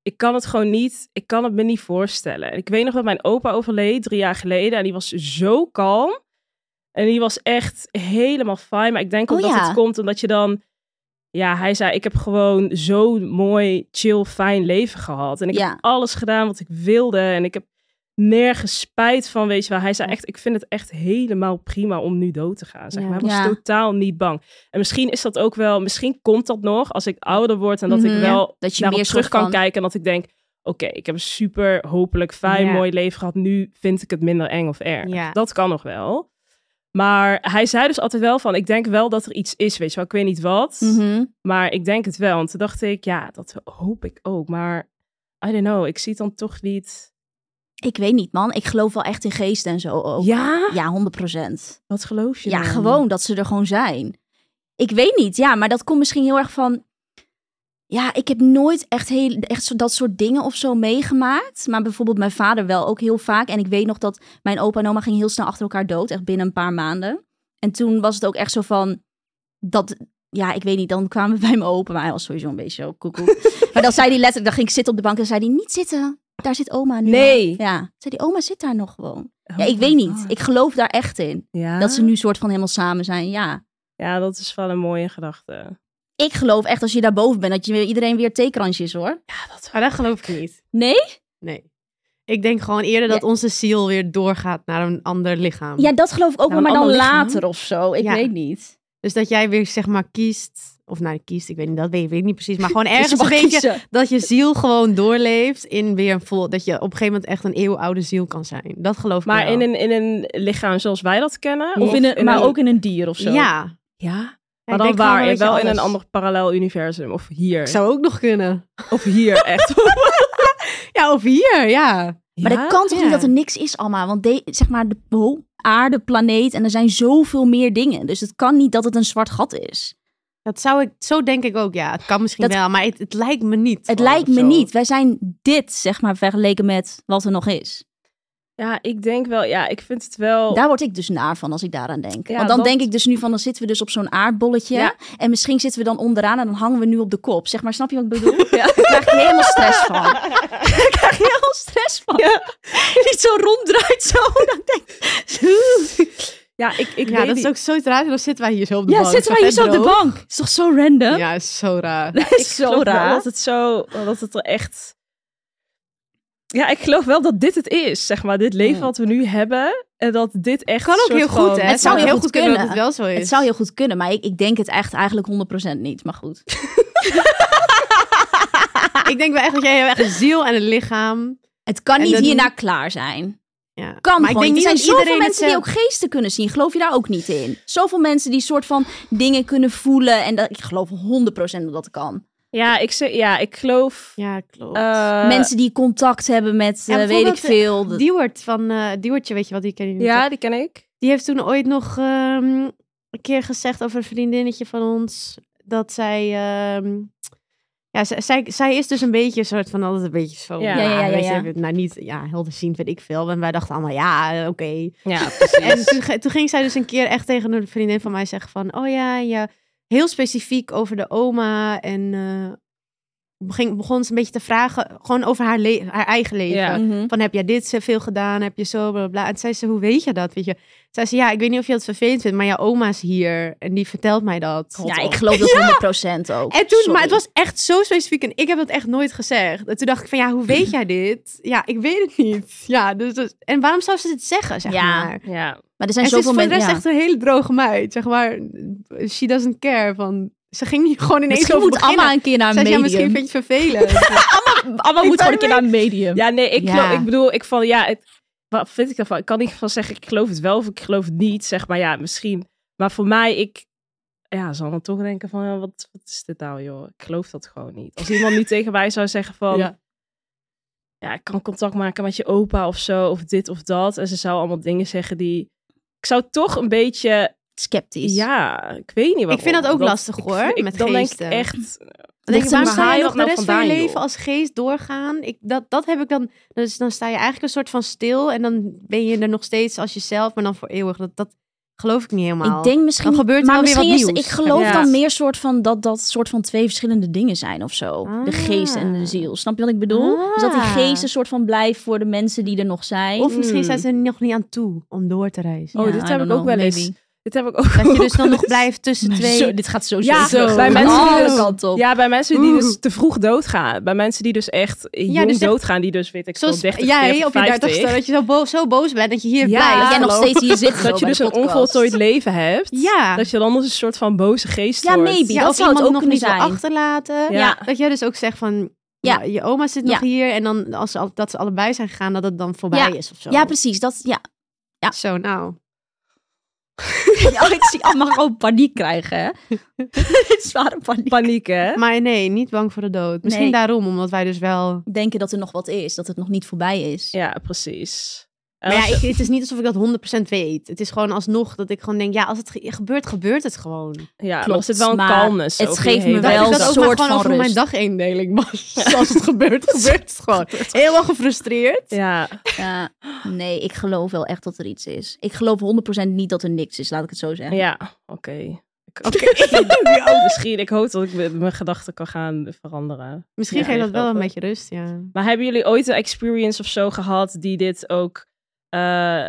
ik kan het gewoon niet, ik kan het me niet voorstellen. En Ik weet nog dat mijn opa overleed drie jaar geleden. En die was zo kalm. En die was echt helemaal fijn. Maar ik denk ook
Oh,
dat
ja.
het komt omdat je dan... Ja, hij zei, ik heb gewoon zo'n mooi, chill, fijn leven gehad. En ik
Ja.
heb alles gedaan wat ik wilde. En ik heb nergens spijt van, weet je wel. Hij zei echt, ik vind het echt helemaal prima om nu dood te gaan. Zeg
Ja.
maar. Hij was
Ja.
totaal niet bang. En misschien is dat ook wel, misschien komt dat nog als ik ouder word en dat
Mhm.
ik wel
Dat je
daarop
meer
terug
soort
kan
van-
kijken en dat ik denk, oké, ik heb een super hopelijk fijn,
Ja.
mooi leven gehad. Nu vind ik het minder eng of erg.
Ja.
Dat kan nog wel. Maar hij zei dus altijd wel van, ik denk wel dat er iets is, weet je wel. Ik weet niet wat,
Mhm.
maar ik denk het wel. En toen dacht ik, ja, dat hoop ik ook. Maar I don't know, ik zie het dan toch niet.
Ik weet niet, man. Ik geloof wel echt in geesten en zo. Ook.
Ja?
Ja, 100 procent.
Wat geloof je
Ja,
dan?
gewoon dat ze er gewoon zijn. Ik weet niet, ja, maar dat komt misschien heel erg van. Ja, ik heb nooit echt, heel, echt zo, dat soort dingen of zo meegemaakt. Maar bijvoorbeeld mijn vader wel ook heel vaak. En ik weet nog dat mijn opa en oma gingen heel snel achter elkaar dood. Echt binnen een paar maanden. En toen was het ook echt zo van... Dat, ja, ik weet niet, dan kwamen we bij me open. Maar hij was sowieso een beetje zo koekoek. maar dan zei hij letterlijk, dan ging ik zitten op de bank. En zei hij, niet zitten, daar zit oma nu. al."
Nee.
Ja, zei die oma zit daar nog gewoon.
Oh
ja, ik
my
weet niet.
God.
Ik geloof daar echt in.
Ja?
Dat ze nu soort van helemaal samen zijn, ja.
ja, dat is wel een mooie gedachte.
Ik geloof echt als je daar boven bent dat je iedereen weer theekransje is hoor.
Ja, dat
Maar Oh, dat geloof ik niet.
Nee?
Nee. Ik denk gewoon eerder dat onze ziel weer doorgaat naar een ander lichaam.
Ja, dat geloof ik ook,
Nou,
wel, maar
een
dan
ander lichaam.
later of zo. Ik
Ja.
weet niet.
Dus dat jij weer zeg maar kiest, of nou kiest, ik weet niet, dat weet, weet ik niet precies. Maar gewoon
Dus
ergens
je
een
mag
beetje
kiezen.
dat je ziel gewoon doorleeft in weer een vol... Dat je op een gegeven moment echt een eeuwenoude ziel kan zijn. Dat geloof ik
Maar
wel.
in een, in een lichaam zoals wij dat kennen?
Of in een, maar ook in een dier of zo.
Ja.
Ja.
Ja,
Maar
ik
dan
denk gewoon
waar?
een
Wel
beetje
in een
alles.
ander parallel universum. Of hier.
Zou ook nog kunnen.
Of hier, echt.
Ja, of hier, ja.
Maar dat kan toch
Ja.
niet dat er niks is allemaal? Want de, zeg maar, de oh, aarde, planeet en er zijn zoveel meer dingen. Dus het kan niet dat het een zwart gat is.
Dat zou ik, zo denk ik ook, ja. Het kan misschien
Dat-
wel, maar het, het lijkt me niet.
Het
gewoon
lijkt
of
me
zo.
niet. Wij zijn dit, zeg maar, vergeleken met wat er nog is.
Ja, ik denk wel. Ja, ik vind het
Oh.
wel...
Daar word ik dus naar van als ik daaraan denk.
Ja,
Want dan
dat-
denk ik dus nu van, dan zitten we dus op zo'n aardbolletje.
Ja.
En misschien zitten we dan onderaan en dan hangen we nu op de kop. Zeg maar, snap je wat ik bedoel? Daar krijg ik helemaal stress van. Daar krijg ik helemaal stress van. Niet zo ronddraait zo. Dan denk ik,
Ja, ik, ik
Ja,
weet
dat
niet.
is ook zo raar. Dan zitten wij hier zo op de
ja,
bank.
zitten
Zo
wij hier
vet
zo op de
droog.
bank. Is toch zo random?
Ja, is zo raar.
Dat is
Ik
zo
geloof wel
raar.
Dat het zo... Dat het er echt... Ja, ik geloof wel dat dit het is, zeg maar. Dit leven
Ja.
wat we nu hebben. En dat dit echt...
Kan
een
ook
soort
heel goed,
van-
hè?
Het zou heel goed
dat het
kunnen.
wel zo is.
Het zou heel goed kunnen, maar ik, ik denk het echt eigenlijk 100% niet. Maar goed.
Ik denk wel echt dat jij hebt echt een ziel en een lichaam.
Het kan
En
niet
dat-
hierna klaar zijn.
Ja.
kan
maar
gewoon
ik denk
niet. Er
niet
zijn
dat
zoveel
iedereen
mensen die ook
hetzelfde-
geesten kunnen zien. Geloof je daar ook niet in? Zoveel mensen die soort van dingen kunnen voelen. En dat, ik geloof 100% dat dat kan.
Ja, ik, zeg, ja, ik geloof...
Ja, klopt.
eh,
mensen die contact hebben met,
Ja,
eh, weet ik
bijvoorbeeld, eh,
veel. de-
Dewart van eh Dewartje, weet je wat die ken je niet,
ja, die ken ik.
Die heeft toen ooit nog ehm, een keer gezegd over een vriendinnetje van ons. Dat zij. ehm, ja, zij, zij, zij is dus een beetje een soort van altijd een beetje zo.
Ja.
Ja, ja, ja,
weet
ja.
Je, nou, niet ja, helderziend, weet ik veel. En wij dachten allemaal, ja, eh, oké.
Ja, precies.
En toen, ge- toen ging zij dus een keer echt tegen een vriendin van mij zeggen van... Oh ja, ja heel specifiek over de oma. En eh, ging, begon ze een beetje te vragen, gewoon over haar, le- haar eigen leven.
Ja.
Mhm.
Van heb jij dit zoveel gedaan? Heb je zo bla bla? En toen zei ze, hoe weet je dat? Weet je? Toen Zei ze, ja, ik weet niet of je dat vervelend vindt, maar jouw oma is hier en die vertelt mij dat.
Ja,
oh.
ik geloof dat 100% ook.
oh. En toen,
Sorry.
maar het was echt zo specifiek en ik heb dat echt nooit gezegd. En toen dacht ik van, ja, hoe weet jij dit? Ja, ik weet het niet. Ja, dus, dat- en waarom zou ze dit zeggen, zeg
Ja.
maar?
Ja.
Maar er zijn
en ze is
zoveel
voor de
mensen.
rest
ja.
echt een hele droge meid, zeg maar. She doesn't care. Van, ze ging hier gewoon ineens
Misschien
over
moet
beginnen.
Amma een keer naar een
Zei ze, ja,
medium.
misschien vind je het vervelend.
Amma moet
ben
gewoon een keer naar een medium.
Ja, nee, ik,
Ja.
geloof- ik bedoel, ik van ja, het, wat vind ik daarvan? Ik kan niet van zeggen, ik geloof het wel of ik geloof het niet, zeg maar ja, misschien. Maar voor mij, ik ja, zal dan toch denken van, ja, wat, wat is dit nou, joh? Ik geloof dat gewoon niet. Als iemand nu tegen mij zou zeggen van, ja.
Ja.
ik kan contact maken met je opa of zo, of dit of dat, en ze zou allemaal dingen zeggen die, ik zou toch een beetje
sceptisch.
Ja, ik weet niet waarom.
Ik vind dat ook lastig,
ik
hoor,
vind-
met
dan
geesten.
denk ik echt...
Dan denk ik,
Ligt
waarom
aan
ga
waar
je
je
nog de
dat nou
rest van je
vandaan, joh?
leven als geest doorgaan? Ik, dat, dat heb ik dan. Dus dan sta je eigenlijk een soort van stil. En dan ben je er nog steeds als jezelf, maar dan voor eeuwig. Dat, dat geloof ik niet helemaal.
Ik denk misschien.
Dan gebeurt er
maar
wel weer
misschien
wat
is,
nieuws.
Ik geloof
Ja.
dan meer soort van dat dat soort van twee verschillende dingen zijn of zo. De
Ah.
geest en de ziel. Snap je wat ik bedoel? Dus dat die
Ah.
geest een soort van blijft voor de mensen die er nog zijn.
Of misschien
Hmm.
zijn ze er nog niet aan toe om door te reizen.
Oh,
Ja,
dit
I
heb
don't
ik ook
know,
wel eens.
maybe.
Dit heb ik ook
Dat je
ook
dus dan
wel
nog
eens.
blijft tussen twee.
Zo, dit gaat zo
Ja,
zo,
bij mensen die
alle
dus-
kanten op.
Ja, bij mensen die dus
Oeh.
te vroeg doodgaan. Bij mensen die dus echt jong
dus echt-
doodgaan. Die dus, weet ik veel,
Zoals
30,
jij
40,
op je
50.
dertigste, dat je zo boos, zo boos bent dat je hier
Ja.
blijft.
dat jij nog
geloof.
steeds hier zit. zo
Dat je
bij
dus
de
een
podcast.
onvoltooid leven hebt.
Ja.
Dat je dan als een soort van boze geest
Ja,
wordt.
maybe.
Ja,
dat
of
zou het
iemand
ook
nog
kunnen
niet wil
zijn.
achterlaten.
Ja.
Dat jij dus ook zegt van,
Ja.
ja. je oma zit nog
Ja.
hier. En dan als ze, al- dat ze allebei zijn gegaan, dat het dan voorbij
Ja.
is of zo.
Ja, precies. Dat, ja.
Zo, nou.
ja, ik zie allemaal gewoon paniek krijgen. hè. Zware paniek.
Paniek, hè?
Maar nee, niet bang voor de dood. Misschien
Nee.
daarom, omdat wij dus wel...
Denken dat er nog wat is. Dat het nog niet voorbij is.
Ja, precies. En
Maar
als
ja,
je-
ik, het is niet alsof ik dat 100% weet. Het is gewoon alsnog dat ik gewoon denk, ja, als het ge- gebeurt, gebeurt het gewoon.
ja, maar
klopt,
er zit wel een
maar
calmness.
het
over
geeft
je heen.
me
Dat
Wel
ik dat
een
ook maar
soort
gewoon
van
over mijn
rust.
dagindeling was. Als het gebeurt, gebeurt het gewoon. Helemaal gefrustreerd.
Ja,
Ja, nee, ik geloof wel echt dat er iets is. Ik geloof 100% niet dat er niks is, laat ik het zo zeggen.
ja. oké. Ik- Misschien, ik hoop dat ik me- mijn gedachten kan gaan veranderen.
Misschien
Ja,
geeft dat wel een
over.
beetje rust, ja.
Maar hebben jullie ooit een experience of zo gehad die dit ook, eh,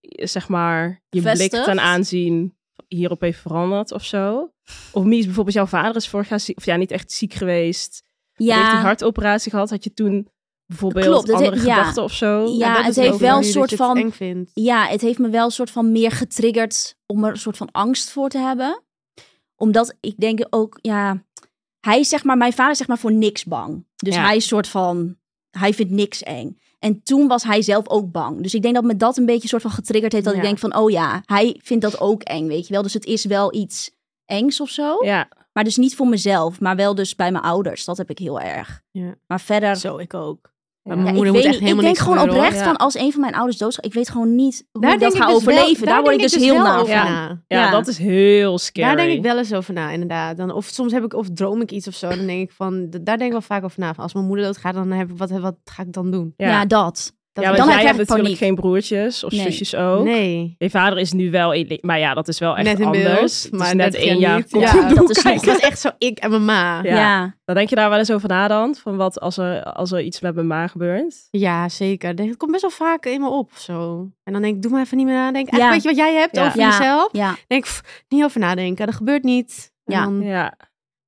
zeg maar, je blik
Bevestigt?
ten aanzien hierop heeft veranderd of zo? Of Mies, bijvoorbeeld jouw vader is vorig jaar ziek, of ja, niet echt ziek geweest. Heeft hij een hartoperatie gehad? Had je toen bijvoorbeeld
Klopt, dat
andere
he- ja.
gedachten of zo? Nou,
Ja,
dat
het
is
heeft
ook
wel
nu
een
dat
soort
je het
van-
eng vindt.
ja, het heeft me wel een soort van meer getriggerd om er een soort van angst voor te hebben. Omdat ik denk ook, ja, hij is zeg maar, mijn vader is zeg maar voor niks bang. Dus
Ja.
hij is soort van, hij vindt niks eng. En toen was hij zelf ook bang. Dus ik denk dat me dat een beetje soort van getriggerd heeft. Dat
Ja.
ik denk van, oh ja, hij vindt dat ook eng, weet je wel. Dus het is wel iets engs of zo.
Ja,
Maar dus niet voor mezelf, maar wel dus bij mijn ouders. Dat heb ik heel erg.
Ja.
Maar verder...
Zo, ik ook.
Ja,
Mijn
Ja, ik
moeder moet
weet niet.
echt helemaal
Ik denk
niks
gewoon
gebeuren, hoor.
opreidst
hoor.
van als een van mijn ouders doodgaat. Ik weet gewoon niet hoe ik dat
denk
ga
dus wel-
overleven. daar word ik
denk
dus heel
wel
nauw.
over
Ja.
na.
ja,
Ja.
dat is heel scary.
Daar denk ik wel eens over na, inderdaad. Dan, of soms heb ik, of droom ik iets of zo. Dan denk ik van, d- daar denk ik wel vaak over na. Van, Als mijn moeder doodgaat, dan heb ik, wat, wat ga ik dan doen?
Ja.
Ja,
dat.
Dat
Ja,
ik-
want
dan
jij
heb ik
hebt
echt
natuurlijk
paniek.
geen broertjes of
Nee.
zusjes ook.
Nee.
Je vader is nu wel, ele- maar ja, dat is wel echt
Net in beeld,
anders. Het is
maar
net
net
één
geen
jaar.
niet.
komt
Ja,
een
dat
doel
is nog
Ik was echt zo, ik en mijn ma. Ja,
Ja.
Ja.
Dan denk je daar wel eens over na dan? Van wat als er, als er iets met mijn ma gebeurt?
zeker. Ik denk, Het komt best wel vaak in me op, of zo. En dan denk ik, doe maar even niet meer nadenken.
Ja.
Eigenlijk Weet je wat jij hebt
Ja.
over
Ja.
jezelf?
Ja.
denk ik, pff, niet over nadenken. Dat gebeurt niet. En
Ja.
dan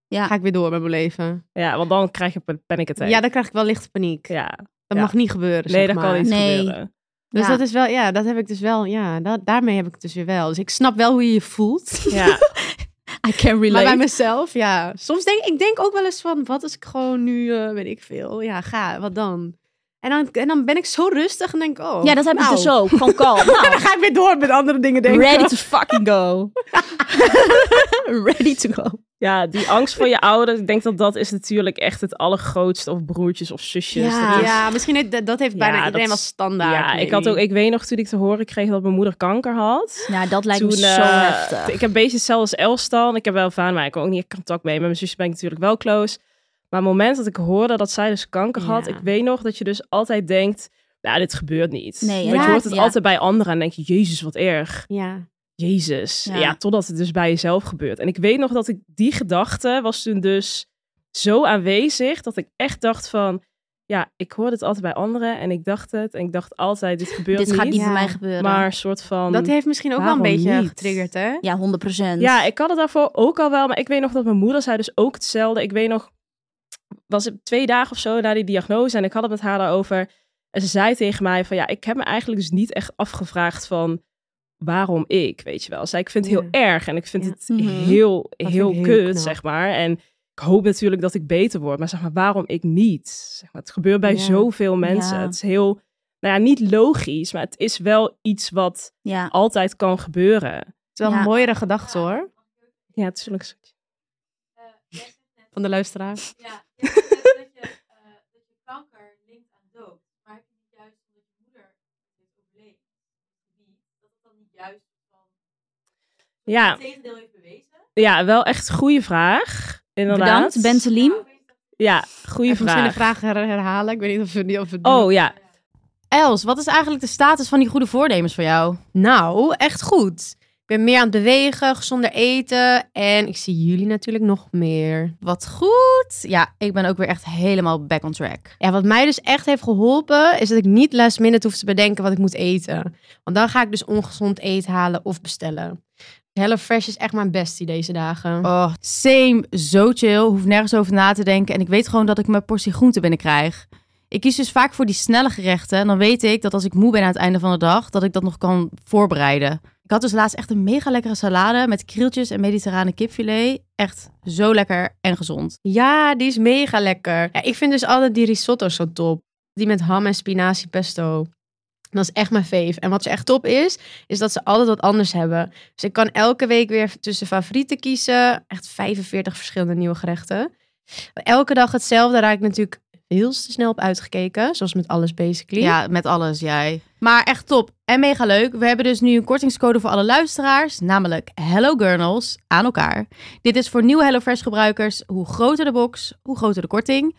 Ja,
ga ik weer door met mijn leven.
ja want dan krijg je pan- panic attack.
Ja, dan krijg ik wel lichte paniek.
Ja.
Dat
Ja.
mag niet gebeuren,
Nee,
zeg
dat
maar.
kan niet
Nee.
gebeuren.
Dus
Ja.
dat is wel, ja, dat heb ik dus wel, ja, da- daarmee heb ik het dus weer wel. Dus ik snap wel hoe je je voelt.
Ja,
I can
Maar
relate.
bij mezelf, ja. Soms denk ik, denk ook wel eens van, wat als ik gewoon nu, eh, weet ik veel, ja, ga, wat dan? En dan, en dan ben ik zo rustig en denk ik, oh.
ja, dat heb
nou.
ik dus ook. Van kalm. Nou,
En dan ga ik weer door met andere dingen denken.
ready to fucking go. ready to go.
ja, die angst voor je ouders. Ik denk dat dat is natuurlijk echt het allergrootste. Of broertjes of zusjes.
Ja.
Dat is-
Ja, misschien heeft, dat, dat heeft bijna
Ja,
iedereen
dat
wel
is-
standaard.
ja ik,
maybe.
had ook, ik weet nog toen ik te horen kreeg dat mijn moeder kanker had.
Nou, dat lijkt me
Toen,
zo
eh,
heftig.
Ik heb een beetje hetzelfde als Elstan. Ik heb wel Vaan, maar ik heb ook niet echt contact mee. Met mijn zusje ben ik natuurlijk wel close. Maar het moment dat ik hoorde dat zij dus kanker had,
Ja.
ik weet nog dat je dus altijd denkt, nou, dit gebeurt niet.
Nee,
Want je
ja,
hoort het
ja.
altijd bij anderen en denk je, jezus, wat erg.
Ja.
Jezus.
Ja.
Ja. totdat het dus bij jezelf gebeurt. En ik weet nog dat ik die gedachte was toen dus zo aanwezig dat ik echt dacht van, ja, ik hoorde het altijd bij anderen en ik dacht het en ik dacht altijd, dit gebeurt
Dit gaat niet
Ja.
bij mij gebeuren.
Maar een soort van...
Dat heeft misschien ook wel een
waarom
beetje
niet?
getriggerd, hè?
ja, 100%.
dus
Ja, ik had het daarvoor ook al wel, maar ik weet nog dat mijn moeder zei dus ook hetzelfde. Ik weet nog, was het twee dagen of zo na die diagnose en ik had het met haar daarover. En ze zei tegen mij van ja, ik heb me eigenlijk dus niet echt afgevraagd van waarom ik, weet je wel. Zij, ik vind het heel
Ja.
erg en ik vind
Ja.
het
Mhm.
heel,
vind
heel
ik heel
kut,
knap.
zeg maar. En ik hoop natuurlijk dat ik beter word, maar zeg maar, waarom ik niet? Zeg maar, het gebeurt bij
Ja.
zoveel mensen.
Ja.
Het is heel, nou ja, niet logisch, maar het is wel iets wat
Ja.
altijd kan gebeuren.
Het is wel
Ja.
een mooiere gedachte, hoor.
Ja, het is wel een stukje.
Van de luisteraar.
Ja, je zegt net dat je, eh, dat je kanker linkt aan dood. Maar heb je niet juist omdat je moeder dit overleed, die, dat het dan niet juist van
Ja,
het tegendeel heeft bewezen?
ja, wel echt goede vraag. Inderdaad.
Bedankt, Bentelien.
Ja, goede
Even misschien
vraag.
de vraag her- herhalen. Ik weet niet of we die of we het doen.
Oh ja,
Els, wat is eigenlijk de status van die goede voornemens voor jou?
Nou, echt goed. Ik ben meer aan het bewegen, gezonder eten. En ik zie jullie natuurlijk nog meer.
Wat goed. Ja, ik ben ook weer echt helemaal back on track.
Ja, wat mij dus echt heeft geholpen, is dat ik niet last minute hoef te bedenken wat ik moet eten. Want dan ga ik dus ongezond eten halen of bestellen. HelloFresh is echt mijn bestie deze dagen.
Oh, same. Zo chill. Hoef nergens over na te denken. En ik weet gewoon dat ik mijn portie groente binnenkrijg. Ik kies dus vaak voor die snelle gerechten. En dan weet ik dat als ik moe ben aan het einde van de dag, dat ik dat nog kan voorbereiden. Ik had dus laatst echt een mega lekkere salade met krieltjes en mediterrane kipfilet. Echt zo lekker en gezond.
Ja, die is mega lekker. Ja, ik vind dus altijd die risotto zo top. Die met ham en spinazie pesto. Dat is echt mijn fave. En wat ze echt top is, is dat ze altijd wat anders hebben. Dus ik kan elke week weer tussen favorieten kiezen. Echt 45 verschillende nieuwe gerechten. Elke dag hetzelfde raak ik natuurlijk heel te snel op uitgekeken. Zoals met alles basically.
Ja, met alles, jij. Maar echt top en mega leuk. We hebben dus nu een kortingscode voor alle luisteraars, namelijk Hello Gurnals aan elkaar. Dit is voor nieuwe HelloFresh gebruikers. Hoe groter de box, hoe groter de korting.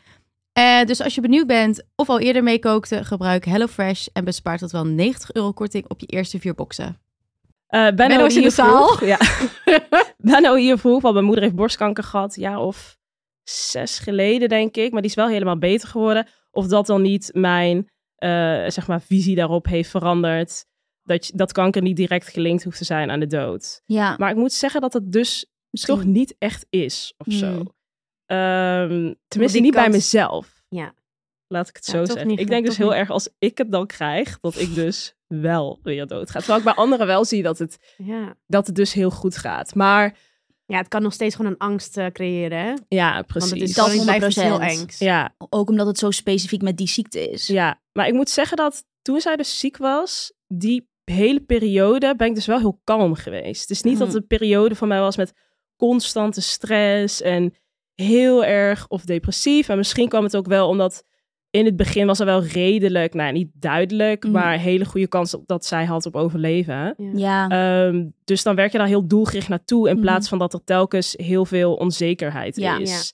Eh, dus als je benieuwd bent of al eerder meekookte, gebruik HelloFresh en bespaart tot wel 90 euro korting op je eerste vier boxen.
Eh Benno,
Benno is in
hier
de zaal.
vroeg- Ja. Benno hier vroeg, want mijn moeder heeft borstkanker gehad, een jaar of zes geleden denk ik, maar die is wel helemaal beter geworden. Of dat dan niet mijn eh, zeg maar, visie daarop heeft veranderd, dat, je- dat kanker niet direct gelinkt hoeft te zijn aan de dood.
Ja,
Maar ik moet zeggen dat dat dus
Misschien-
toch niet echt is of zo.
Hmm.
Ehm, tenminste
die
niet bij
kans-
mezelf.
Ja.
Laat ik het
Ja,
zo
toch
zeggen.
niet,
ik denk
toch
dus heel
niet.
erg als ik het dan krijg, dat ik dus wel weer doodga. Terwijl ik bij anderen wel zie dat het
ja.
dat het dus heel goed gaat. Maar
Ja, het kan nog steeds gewoon een angst eh, creëren. Hè?
ja,
Want het is
precies.
Dat
gewoon- het blijft iets heel
100%.
engs.
Ja,
ook omdat het zo specifiek met die ziekte is.
ja, maar ik moet zeggen dat toen zij dus ziek was, die hele periode ben ik dus wel heel kalm geweest. Het is niet dat
Mhm.
het een periode van mij was met constante stress en heel erg of depressief. En misschien kwam het ook wel omdat in het begin was er wel redelijk, nou niet duidelijk,
Mhm.
maar hele goede kans op dat zij had op overleven.
Ja.
Ehm, dus dan werk je daar heel doelgericht naartoe. In
Mhm.
plaats van dat er telkens heel veel onzekerheid
Ja.
is.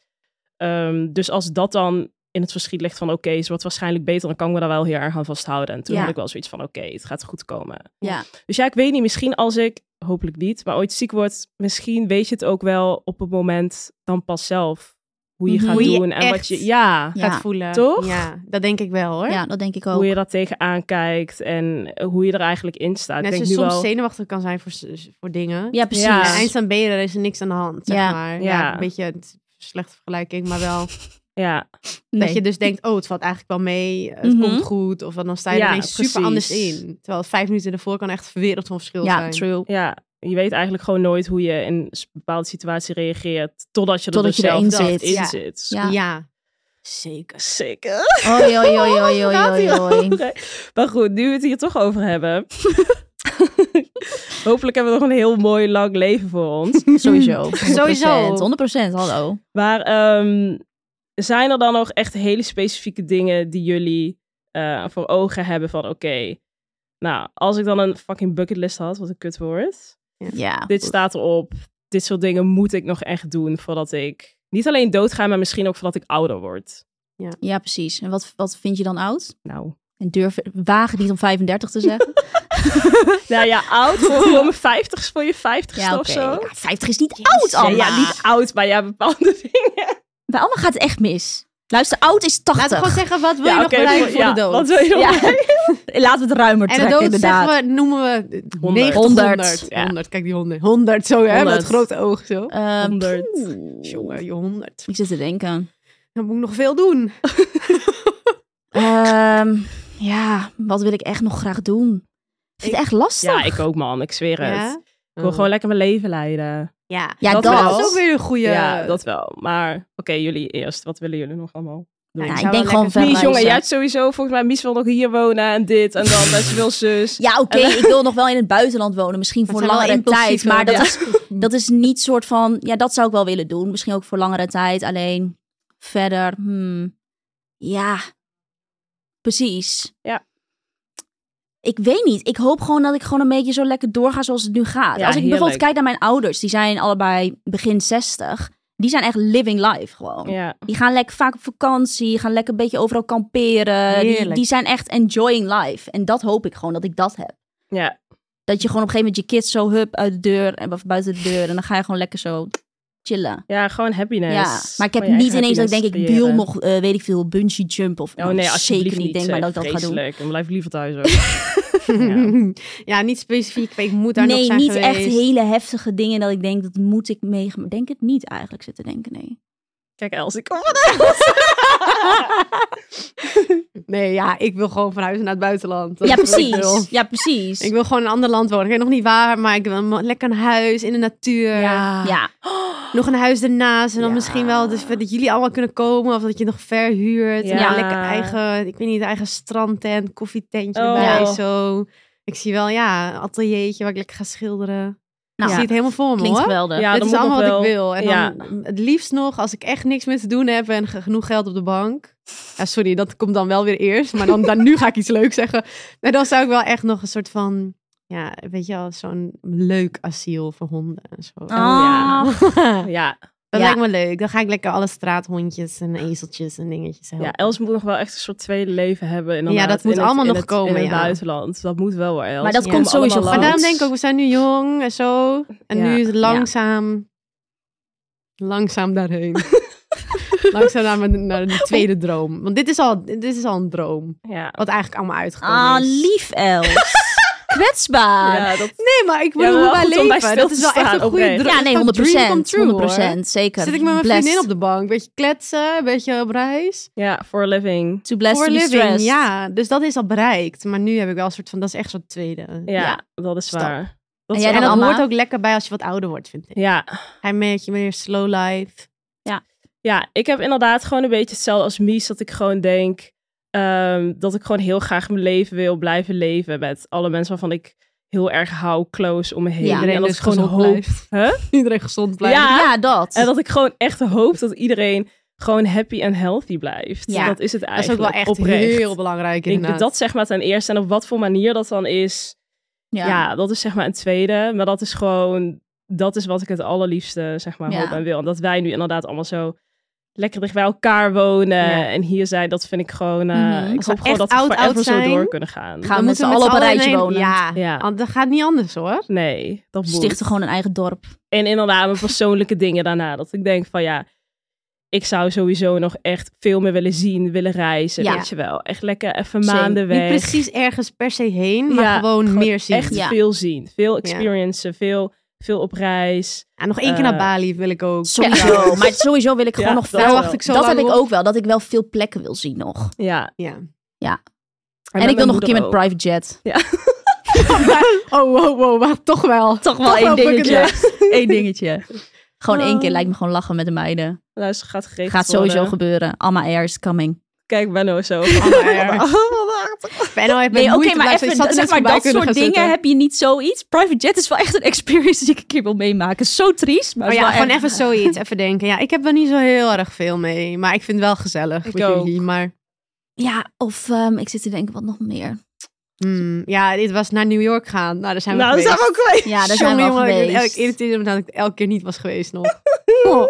Ehm, dus als dat dan in het verschiet ligt van oké, ze wordt waarschijnlijk beter. Dan kan ik me daar wel heel erg aan vasthouden. En toen
Ja.
had ik wel zoiets van oké, het gaat goed komen.
Ja.
Dus ja, ik weet niet. Misschien als ik, hopelijk niet, maar ooit ziek word. Misschien weet je het ook wel op het moment dan pas zelf. Hoe je
Mhm.
gaat
Hoe je
doen en wat
echt-
je... Ja,
Ja.
Gaat voelen.
Toch?
Ja, dat denk ik wel hoor.
ja, dat denk ik ook.
hoe je daar tegenaan kijkt en eh, hoe je er eigenlijk in staat.
Net
ik
zoals
denk nu
soms
wel...
zenuwachtig kan zijn voor, s- voor dingen.
Ja, precies.
Ja.
En eindstand ben je er, is er niks aan de hand, zeg
Ja.
maar. Ja.
Ja.
een beetje een slechte vergelijking, maar wel
Ja,
dat
Nee.
je dus denkt, oh, het valt eigenlijk wel mee, het
Mhm.
komt goed. Of dan sta je
Ja,
er ineens super
precies.
anders in. Terwijl vijf minuten ervoor kan echt een wereld van verschil
Ja,
zijn.
true.
Ja, je weet eigenlijk gewoon nooit hoe je in een bepaalde situatie reageert. Totdat je er
Totdat
dus
je erin
zelf
zit.
in
Ja.
zit.
Ja.
Ja. Zeker.
Zeker.
Oi, oi, oi, oi, oi, oi, oi.
Maar goed, nu we het hier toch over hebben. Hopelijk hebben we nog een heel mooi lang leven voor ons.
Sowieso.
100%,
Sowieso.
100%, hallo.
Maar ehm, zijn er dan nog echt hele specifieke dingen die jullie eh, voor ogen hebben van oké, nou, als ik dan een fucking bucketlist had, wat een kutwoord.
Ja.
dit staat erop. Dit soort dingen moet ik nog echt doen voordat ik niet alleen doodga, maar misschien ook voordat ik ouder word.
Ja, precies. En wat, wat vind je dan oud?
Nou,
En durf, wagen niet om 35 te zeggen.
nou ja, oud voor, voor mijn vijftigste, voor je vijftigste
ja,
of
oké.
zo.
Ja, 50 is niet oud,
Ja,
Anna.
ja, niet oud, maar ja, bepaalde dingen.
Bij Anna gaat het echt mis. Luister, oud is 80.
Laten we gewoon zeggen, wat wil
ja,
je nog
oké,
bereiken voor
ja,
de dood?
Wat wil je nog
Ja.
bereiken?
Laten we het ruimer
en de
trekken,
dood
inderdaad.
zeggen we, noemen we
100.
90, 100. 100,
Ja.
kijk die 100. 100 zo, hè, met
100.
het grote oog zo.
Ehm,
100.
poeh.
Jongen, je 100.
Ik zit te denken.
Dan moet ik nog veel doen.
Ehm, ja, wat wil ik echt nog graag doen? Ik vind het echt lastig.
Ja, ik ook man, ik zweer het.
Ja?
Ik wil gewoon lekker mijn leven leiden.
Mm. Ja.
Ja,
dat
dat,
wel.
Dat is ook weer een goede...
Ja, dat wel. Maar oké, jullie eerst. Wat willen jullie nog allemaal?
Nou,
Ja, zou
ik
wel
denk gewoon
lekker-
verder.
Mies, jongen,
reizen.
jij hebt sowieso volgens mij Mies wil nog hier wonen en dit en dat en ze wil zus.
Ja, oké, ik wil nog wel in het buitenland wonen. Misschien voor
zijn wel
langere tijd.
impulsieve,
Maar dat,
ja.
is, dat is niet soort van... Ja, dat zou ik wel willen doen. Misschien ook voor langere tijd. Alleen verder... hmm, ja, precies.
Ja.
Ik weet niet. Ik hoop gewoon dat ik gewoon een beetje zo lekker doorga zoals het nu gaat.
Ja,
Als ik bijvoorbeeld
heerlijk.
kijk naar mijn ouders, die zijn allebei begin 60. Die zijn echt living life gewoon.
Ja.
Die gaan lekker vaak op vakantie, gaan lekker een beetje overal kamperen. Die,
Heerlijk.
die zijn echt enjoying life. En dat hoop ik gewoon, dat ik dat heb.
Ja.
Dat je gewoon op een gegeven moment je kids zo hup uit de deur en of buiten de deur. En dan ga je gewoon lekker zo chillen.
ja, gewoon happiness.
Ja, maar ik heb
Gewoon je
niet
eigen
ineens dat ik denk, ik
happiness
wil
creëren.
nog, eh, weet ik veel, bungee jump of
Oh nee, alsjeblieft
zeker niet denk maar dat ik dat ga doen.
Vreselijk. En blijf liever thuis ook. ja.
ja, niet specifiek. Ik moet daar nog
Nee,
zijn
niet
geweest.
echt hele heftige dingen dat ik denk, dat moet ik meegemaakt. Denk het niet eigenlijk zitten denken, nee.
Kijk, Els, ik kom
Nee, ja, ik wil gewoon verhuizen naar het buitenland. Dat
Ja,
is wat ik wil.
precies. Ja, precies.
Ik wil gewoon in een ander land wonen. Ik weet nog niet waar, maar ik wil een- lekker een huis in de natuur. Ah,
Ja,
Nog een huis ernaast. En dan
Ja.
misschien wel dus, dat jullie allemaal kunnen komen. Of dat je nog verhuurt. En
Ja.
een lekker eigen, ik weet niet, eigen strandtent, koffietentje
Oh.
erbij.
Ja.
Zo. Ik zie wel, ja, een ateliertje waar ik lekker ga schilderen.
Nou,
ik zie het helemaal voor me,
klinkt
hoor.
geweldig.
Ja,
Dit
dan
is
moet nog
allemaal wat
wel-
ik wil. En
ja.
dan het liefst nog, als ik echt niks meer te doen heb en ge- genoeg geld op de bank. Ja, sorry, dat komt dan wel weer eerst. Maar dan, dan nu ga ik iets leuks zeggen. Maar dan zou ik wel echt nog een soort van, ja, weet je wel, zo'n leuk asiel voor honden en zo.
ja.
Ah,
Oh. Ja.
Dat
Ja.
lijkt me leuk. Dan ga ik lekker alle straathondjes en ezeltjes en dingetjes helpen.
ja, Els moet nog wel echt een soort tweede leven hebben. Inderdaad,
dat moet
in het-
allemaal
in
nog
het- In
komen,
het
ja.
buitenland. Dat moet wel hoor, Els.
Maar dat
Ja.
komt
Allemaal
sowieso
langs.
Maar
Want-
daarom denk ik ook, we zijn nu jong en zo. En
Ja.
nu is het langzaam, langzaam daarheen. langzaam naar, mijn- naar de tweede droom. Want dit is, al, dit is al een droom.
Ja.
Wat eigenlijk allemaal uitgekomen
ah,
is.
lief Els. Kwetsbaar.
Ja, dat,
Nee, maar ik
Ja,
bedoel,
maar wel
hoe wij
goed om bij
leven.
stil
Dat
te
is wel echt
staan,
een goede
oprecht.
droom.
Ja, nee, 100
Dream come true, hoor.
100 zeker.
Zit ik met mijn
Blessed.
vriendin op de bank, een beetje kletsen, een beetje op reis.
ja, for a living.
To bless
Voor
to be
living,
stressed.
ja. Dus dat is al bereikt. Maar nu heb ik wel een soort van, dat is echt zo'n tweede.
Ja,
Ja.
dat is
Stap.
waar. Dat
En
is
jij
En
wel-
dat
Anna?
hoort ook lekker bij als je wat ouder wordt, vind ik.
ja.
Ga je een beetje meer slow life.
ja, ik heb inderdaad gewoon een beetje hetzelfde als Mies. Dat ik gewoon denk ehm, dat ik gewoon heel graag mijn leven wil blijven leven. Met alle mensen waarvan ik heel erg hou, close om me heen.
Ja.
en dat
dus
ik gewoon
gezond
hoop.
blijft.
Huh?
Iedereen gezond blijft.
Ja.
Ja, dat.
En dat ik gewoon echt hoop dat iedereen gewoon happy en healthy blijft.
Ja.
Dat is het
dat is ook
eigenlijk.
wel echt
oprecht.
heel belangrijk
Ik,
inderdaad.
dat zeg maar ten eerste. En op wat voor manier dat dan is, ja. dat is zeg maar een tweede. Maar dat is gewoon, dat is wat ik het allerliefste zeg maar
Ja.
hoop en wil. En dat wij nu inderdaad allemaal zo lekker dicht bij elkaar wonen
Ja.
en hier zijn, dat vind ik gewoon, eh,
Mhm.
ik
Als we
hoop gewoon
echt
dat we
oud, oud
forever zo
zijn,
door kunnen gaan.
Gaan we
Dan
met z'n
moeten
allen op een
in
rijtje
één-
wonen.
Ja.
Ja.
Want dat gaat niet anders hoor.
Nee, dat
dus
moet.
Stichten gewoon een eigen dorp.
En inderdaad mijn persoonlijke dingen daarna. Dat ik denk van ja, ik zou sowieso nog echt veel meer willen zien, willen reizen,
Ja.
weet je wel. Echt lekker even
Same.
maanden weg.
Niet precies ergens per se heen, maar
Ja,
gewoon, meer zien.
Echt
Ja.
veel zien, veel experiencen, veel, veel op reis.
Ja, nog één keer naar
Eh,
Bali wil ik ook.
Sowieso. Maar sowieso wil ik gewoon
Ja,
nog
dat
veel.
wel.
wacht ik zo
dat
lang
heb ik
op.
ook wel. Dat ik wel veel plekken wil zien nog.
Ja.
Ja.
En,
met
ik wil
mijn
nog een keer
moeder
met
ook.
private jet.
Oh, wow, wow, maar toch wel.
Toch wel
één dingetje.
Eén dingetje. Gewoon één
Oh.
keer lijkt me gewoon lachen met de meiden.
Luister, gaat geregeld
Gaat sowieso
worden.
gebeuren. Alma Air is coming.
Kijk, Benno zo.
Oh, Benno heeft met
Oh, eh, Nee, oké,
moeite
maar
blijft,
even,
je zou er
zeg
net
maar,
voorbij
dat
kunnen
soort
gaan
dingen
zitten.
heb je niet zoiets. Private jet is wel echt een experience die ik een keer wil meemaken. Zo triest, maar
Oh
is
ja,
wel
gewoon
echt-
even zoiets, even denken. Ja, ik heb er niet zo heel erg veel mee, maar ik vind het wel gezellig
Ik
met
ook.
jullie. Maar
Ja, of ehm, ik zit te denken, wat nog meer?
mm, ja, dit was naar New York gaan. Nou, daar zijn we
nou, dat
geweest.
zijn we ook geweest.
Ja, daar zijn we al
Jongen, jongen, ik-
geweest.
Ik irriteerde me dat ik elke keer niet was geweest nog. Oh,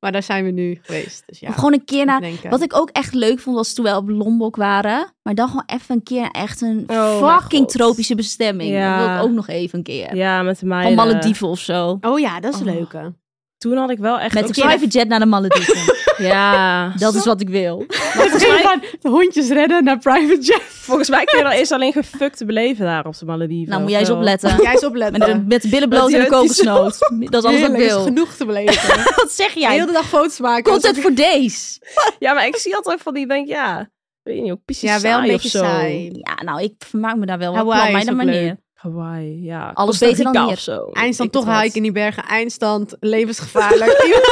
Maar daar zijn we nu geweest. Dus ja,
Of gewoon een keer naar...
even denken.
Nou, Wat ik ook echt leuk vond, was toen we op Lombok waren. Maar dan gewoon even een keer echt een
Oh, mijn
fucking
God.
tropische bestemming.
Ja.
Dat wil ik ook nog even een keer.
Ja, met de meiden.
Van Malediven of zo.
Oh ja, dat is een
Oh.
leuke.
Toen had ik wel echt...
Met
ook
een
zo'n-
private jet naar de Malediven.
Ja.
dat is wat ik wil.
volgens, mij,
de hondjes redden naar private jet.
volgens mij kun je dan eerst alleen gefuckt te beleven daar op de Malediven.
Nou, moet
of
jij eens
wel?
opletten.
Jij is
Met de,
opletten.
met de billen bloot
Dat
en de
die- die zo-
kokosnoot. Dat is alles wat ik
Heerlijk, is
wil.
genoeg te beleven.
Wat zeg
De
jij?
hele dag foto's maken.
Content voor days.
Ja, maar ik zie altijd van die, denk ja... Weet je niet, ook pisjes
Ja, wel een
saai of
beetje
zo.
saai.
Ja, nou, ik vermaak me daar wel. Op
Hawaii
mijn
is ook
manier.
leuk.
Hawaii, ja.
Alles
Costa
beter dan
Rica
hier.
of zo. Weet
Eindstand toch
ik het wat.
haak in die bergen. Eindstand levensgevaarlijk.